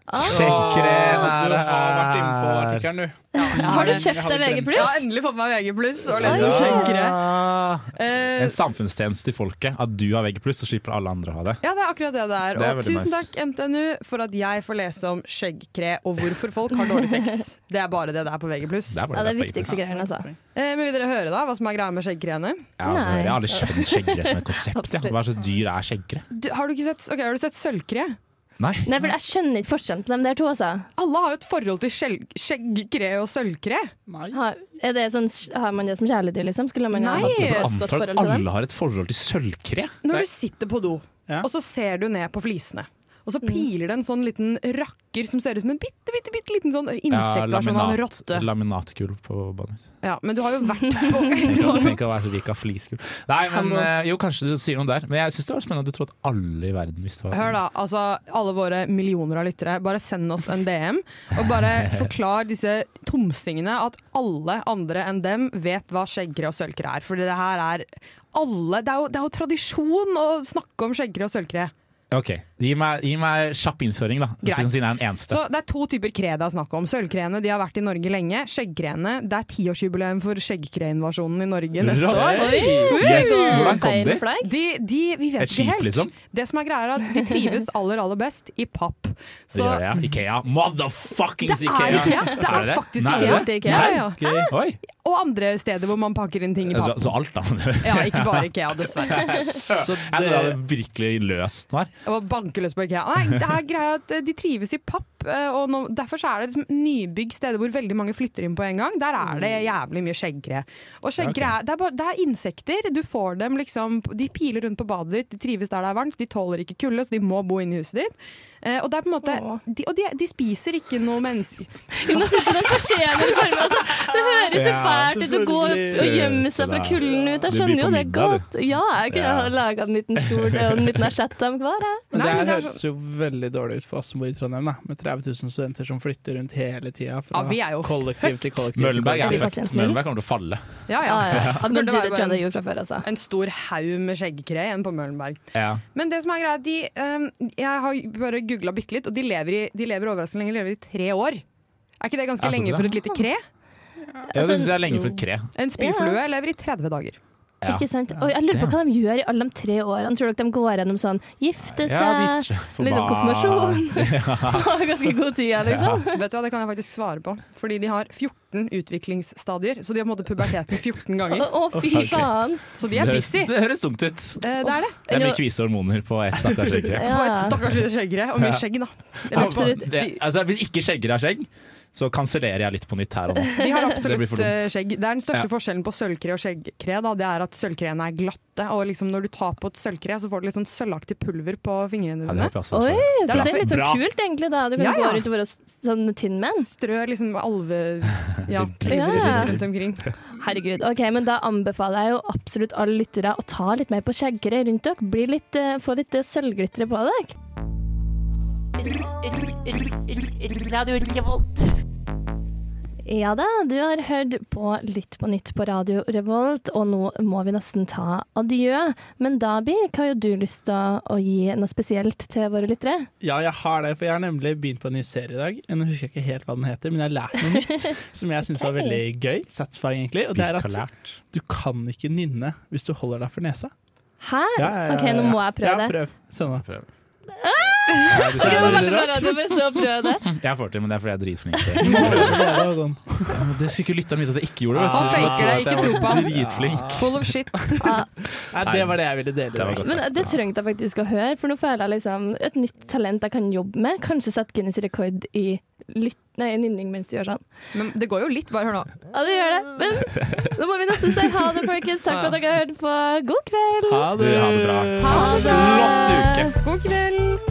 Speaker 6: Sjekkere
Speaker 7: Ah, Du har vært inne på artikkelen, du.
Speaker 5: Har du
Speaker 8: det.
Speaker 5: kjøpt deg VG+.
Speaker 8: Jeg har endelig fått meg VG+, og lest om skjeggere. Eh,
Speaker 6: En samfunnstjeneste til folket. At du har VG+, så slipper alle andre å ha det.
Speaker 8: Ja, det er akkurat det det er.
Speaker 6: Det er
Speaker 8: og
Speaker 6: veldig
Speaker 8: tusen
Speaker 6: nice.
Speaker 8: takk, NTNU, for at jeg får lese om skjeggkre og hvorfor folk har dårlig sex. Det er bare det det er på VG+.
Speaker 6: Det er bare det
Speaker 5: Ja, det er
Speaker 6: på VG+.
Speaker 5: viktigste greien, altså.
Speaker 8: Eh, men vil dere høre da, hva som er greia med skjeggkreene?
Speaker 6: Ja, for Jeg har aldri skjønt skjeggere som et konsept. Ja. Hva slags dyr er skjeggere?
Speaker 8: Du, har du ikke sett, ok, har du sett sølvkre?
Speaker 6: Nei.
Speaker 5: Nei, for jeg skjønner ikke forskjellen på dem der to, altså.
Speaker 8: Alle har jo et forhold til skjel- skjeggkre og sølvkre.
Speaker 5: Har, er det sånn, har man det som kjæledyr, liksom? Skulle man ha
Speaker 8: Nei.
Speaker 5: hatt
Speaker 6: Jeg
Speaker 5: et godt
Speaker 6: antar
Speaker 5: forhold
Speaker 6: at
Speaker 5: til dem?
Speaker 6: alle har et forhold til sølvkre.
Speaker 8: Når du sitter på do, og så ser du ned på flisene. Og så piler det en sånn liten rakker som ser ut som en bitte, bitte, bitte liten sånn insektversjon av en rotte.
Speaker 6: Laminatgulv på badet mitt.
Speaker 8: Ja, men du har jo vært på sånn-
Speaker 6: Tenk å- Tenk å være så rik av flisgulv. Nei, men
Speaker 8: Hallo.
Speaker 6: eh, jo, kanskje du sier noe der. Men jeg syns det var spennende at du trodde at alle i verden visste hva
Speaker 8: Hør da, altså alle våre millioner av lyttere, bare send oss en DM. Og bare forklar disse tomsingene at alle andre enn dem vet hva skjeggkre og sølvkre er. For det her er alle Det er jo, det er jo tradisjon å snakke om skjeggkre og sølvkre.
Speaker 6: Ok, Gi meg, gi meg kjapp innføring, da.
Speaker 8: Greit.
Speaker 6: Siden siden jeg er den eneste.
Speaker 8: Så det er to typer kre det er snakk om. Sølvkreene de har vært i Norge lenge. Skjeggkreene det er tiårsjubileum for skjeggkreinvasjonen i Norge neste
Speaker 6: Rått.
Speaker 8: år.
Speaker 6: Oi. Yes. Hvordan kom de?
Speaker 8: De, de vi vet
Speaker 6: Et
Speaker 8: ikke
Speaker 6: skip,
Speaker 8: helt.
Speaker 6: liksom?
Speaker 8: Det som er greia er at de trives aller aller best i papp.
Speaker 6: Det gjør jeg. Ikea. Motherfuckings
Speaker 8: Det er
Speaker 6: Ikea!
Speaker 8: Ikea. Det er faktisk
Speaker 6: Nei,
Speaker 8: Ikea.
Speaker 6: er det?
Speaker 8: Ja, ja.
Speaker 6: Nei, ok. Oi. Altså,
Speaker 8: Og andre steder hvor man pakker inn ting i
Speaker 6: Så,
Speaker 8: papp.
Speaker 6: så alt, da.
Speaker 8: Ja, ikke bare Ikea, dessverre.
Speaker 6: Så Jeg trodde jeg hadde virkelig løst noe her.
Speaker 8: Og bankeløs på Ikea. Nei, det er greia at eh, de trives i papp. eh, og nå, derfor så er det liksom nybygg steder hvor veldig mange flytter inn på en gang. Der er det jævlig mye skjeggre. Og skjeggre
Speaker 14: Ja,
Speaker 8: er, det, er bare, det er insekter. Du får dem liksom De piler rundt på badet ditt, de trives der det er varmt, de tåler ikke kulde, så de må bo inne i huset ditt. Eh, og det er på en måte de, Og de, de spiser ikke noe mennesker
Speaker 5: Jonas, synes du det er fortjener for meg? Altså, det høres så
Speaker 8: Ja,
Speaker 5: fælt ut å gå og
Speaker 8: selvfølgelig.
Speaker 5: gjemme seg fra kulden ut. Jeg
Speaker 7: Du blir
Speaker 5: skjønner
Speaker 7: på
Speaker 5: jo det
Speaker 7: middag,
Speaker 5: godt. Ja, jeg kunne
Speaker 7: Ja.
Speaker 5: ha laga en liten stol og en liten asjett av hver. jeg.
Speaker 7: Men det, her høres jo veldig dårlig ut for oss som bor i Trondheim, da. med 30 000 studenter som flytter rundt hele tida fra
Speaker 5: Ja, vi er jo
Speaker 7: kollektiv til kollektiv.
Speaker 6: Møllberg er
Speaker 7: til
Speaker 6: fucked.
Speaker 7: kollektiv.
Speaker 6: Møllberg kommer til å falle.
Speaker 8: Ja, ja.
Speaker 6: Ja, ja.
Speaker 5: Men du,
Speaker 8: Det burde
Speaker 5: det
Speaker 8: være bare
Speaker 5: tror jeg det
Speaker 8: en-
Speaker 5: er gjort fra før, altså.
Speaker 8: En stor haug med skjeggkre igjen på Møhlenberg.
Speaker 6: Ja.
Speaker 8: Men det som er greia, de, eh, jeg har bare googla bitte litt, og de lever, i, de lever overraskende lenge. De lever i tre år. Er ikke det
Speaker 6: Er
Speaker 8: ganske
Speaker 6: det
Speaker 8: lenge
Speaker 6: sant,
Speaker 8: for
Speaker 6: da?
Speaker 8: et lite kre? Altså,
Speaker 6: Ja,
Speaker 5: Altså,
Speaker 6: det synes jeg er lenge for et kre.
Speaker 8: En spyflue lever i 30 dager.
Speaker 6: Ja.
Speaker 5: Ikke sant? Og jeg lurer på hva de gjør i alle de tre årene. Tror dere de går gjennom sånn gifte seg,
Speaker 6: Ja, de gifter seg. Får
Speaker 5: litt sånn konfirmasjon? Har ganske god tid, jeg, liksom.
Speaker 8: Vet du hva, Det kan jeg faktisk svare på. Fordi de har 14 utviklingsstadier. Så de har på en måte puberteten 14 ganger.
Speaker 5: Å, å, fy faen.
Speaker 8: Så de er
Speaker 6: Det høres-
Speaker 8: busy.
Speaker 6: Det høres tungt ut.
Speaker 8: Eh, det er det.
Speaker 6: Det er mye kvise hormoner på ett stakkars skjegg.
Speaker 8: På et stakkars lite skjeggre. Og mye
Speaker 6: Ja.
Speaker 8: skjegg, da. Jeg lurer på-
Speaker 6: Absolutt. Det, altså, hvis ikke skjegger har skjegg, så kansellerer jeg litt på nytt her og nå.
Speaker 8: De har
Speaker 6: Det blir
Speaker 8: absolutt
Speaker 6: for dumt.
Speaker 8: eh, skjegg. Det er Den største
Speaker 6: Ja.
Speaker 8: forskjellen på sølvkre og skjeggkre da, Det er at sølvkreene er glatte. Og liksom når du tar på et sølvkre, så får du litt sånn sølvaktig pulver på fingrene
Speaker 6: Ja, det
Speaker 8: dine.
Speaker 6: håper jeg også.
Speaker 5: Oi, så det er litt så
Speaker 8: Bra.
Speaker 5: kult, egentlig. da Du kan
Speaker 8: Ja, ja.
Speaker 5: gå rundt og være sånn tynn man.
Speaker 8: Strø liksom alve...
Speaker 5: Ja.
Speaker 8: Ja, pulveret sitt rundt omkring.
Speaker 5: Herregud. ok, men Da anbefaler jeg jo absolutt alle lyttere å ta litt mer på skjeggere rundt dere. Bli litt, eh, få litt eh, sølvglitre på dere.
Speaker 15: Radio Revolt.
Speaker 5: Ja da, du har hørt på Litt på nytt på Radio Revolt, og nå må vi nesten ta adjø. Men da, Birk, har jo du lyst til å- å gi noe spesielt til våre lyttere?
Speaker 7: Ja, jeg har det, for jeg har nemlig begynt på en ny serie i dag. Nå husker jeg ikke helt hva den heter, men jeg har lært noe nytt som jeg syns var
Speaker 5: Ok.
Speaker 7: veldig gøy. Satisfying, egentlig. Og det er
Speaker 6: Birk har
Speaker 7: at du kan ikke nynne hvis du holder deg for nesa.
Speaker 5: Hæ? OK, nå må jeg prøve
Speaker 7: ja,
Speaker 5: det.
Speaker 7: Prøv. Sånn, da.
Speaker 6: Ja,
Speaker 5: Ok, nå
Speaker 6: det
Speaker 5: ble det
Speaker 6: er-
Speaker 5: på radio, men så prøv det.
Speaker 6: Jeg får til, men det er fordi jeg er dritflink. Ja, men det skulle ikke lytteren vite at jeg ikke gjorde. vet
Speaker 7: Han
Speaker 6: du.
Speaker 7: faker
Speaker 6: Jeg tror
Speaker 7: det,
Speaker 6: at jeg
Speaker 7: ikke tro på
Speaker 6: var
Speaker 7: han.
Speaker 6: Dritflink.
Speaker 8: Full of shit.
Speaker 7: Nei, det var det jeg ville dele. i
Speaker 6: Det var
Speaker 7: dag.
Speaker 6: godt
Speaker 5: Men det trengte jeg faktisk å høre, for nå føler jeg liksom et nytt talent jeg kan jobbe med. Kanskje sette Guinness rekord i lytt... Nei, nynning mens du gjør sånn.
Speaker 8: Men det går jo litt, bare hør nå.
Speaker 5: Ja, det gjør det. Men nå må vi nesten si ha det, folkens. Takk for at dere har hørt på. God kveld.
Speaker 6: Ha det. Du, ha det bra.
Speaker 15: Ha det.
Speaker 6: Flott uke.
Speaker 15: God kveld.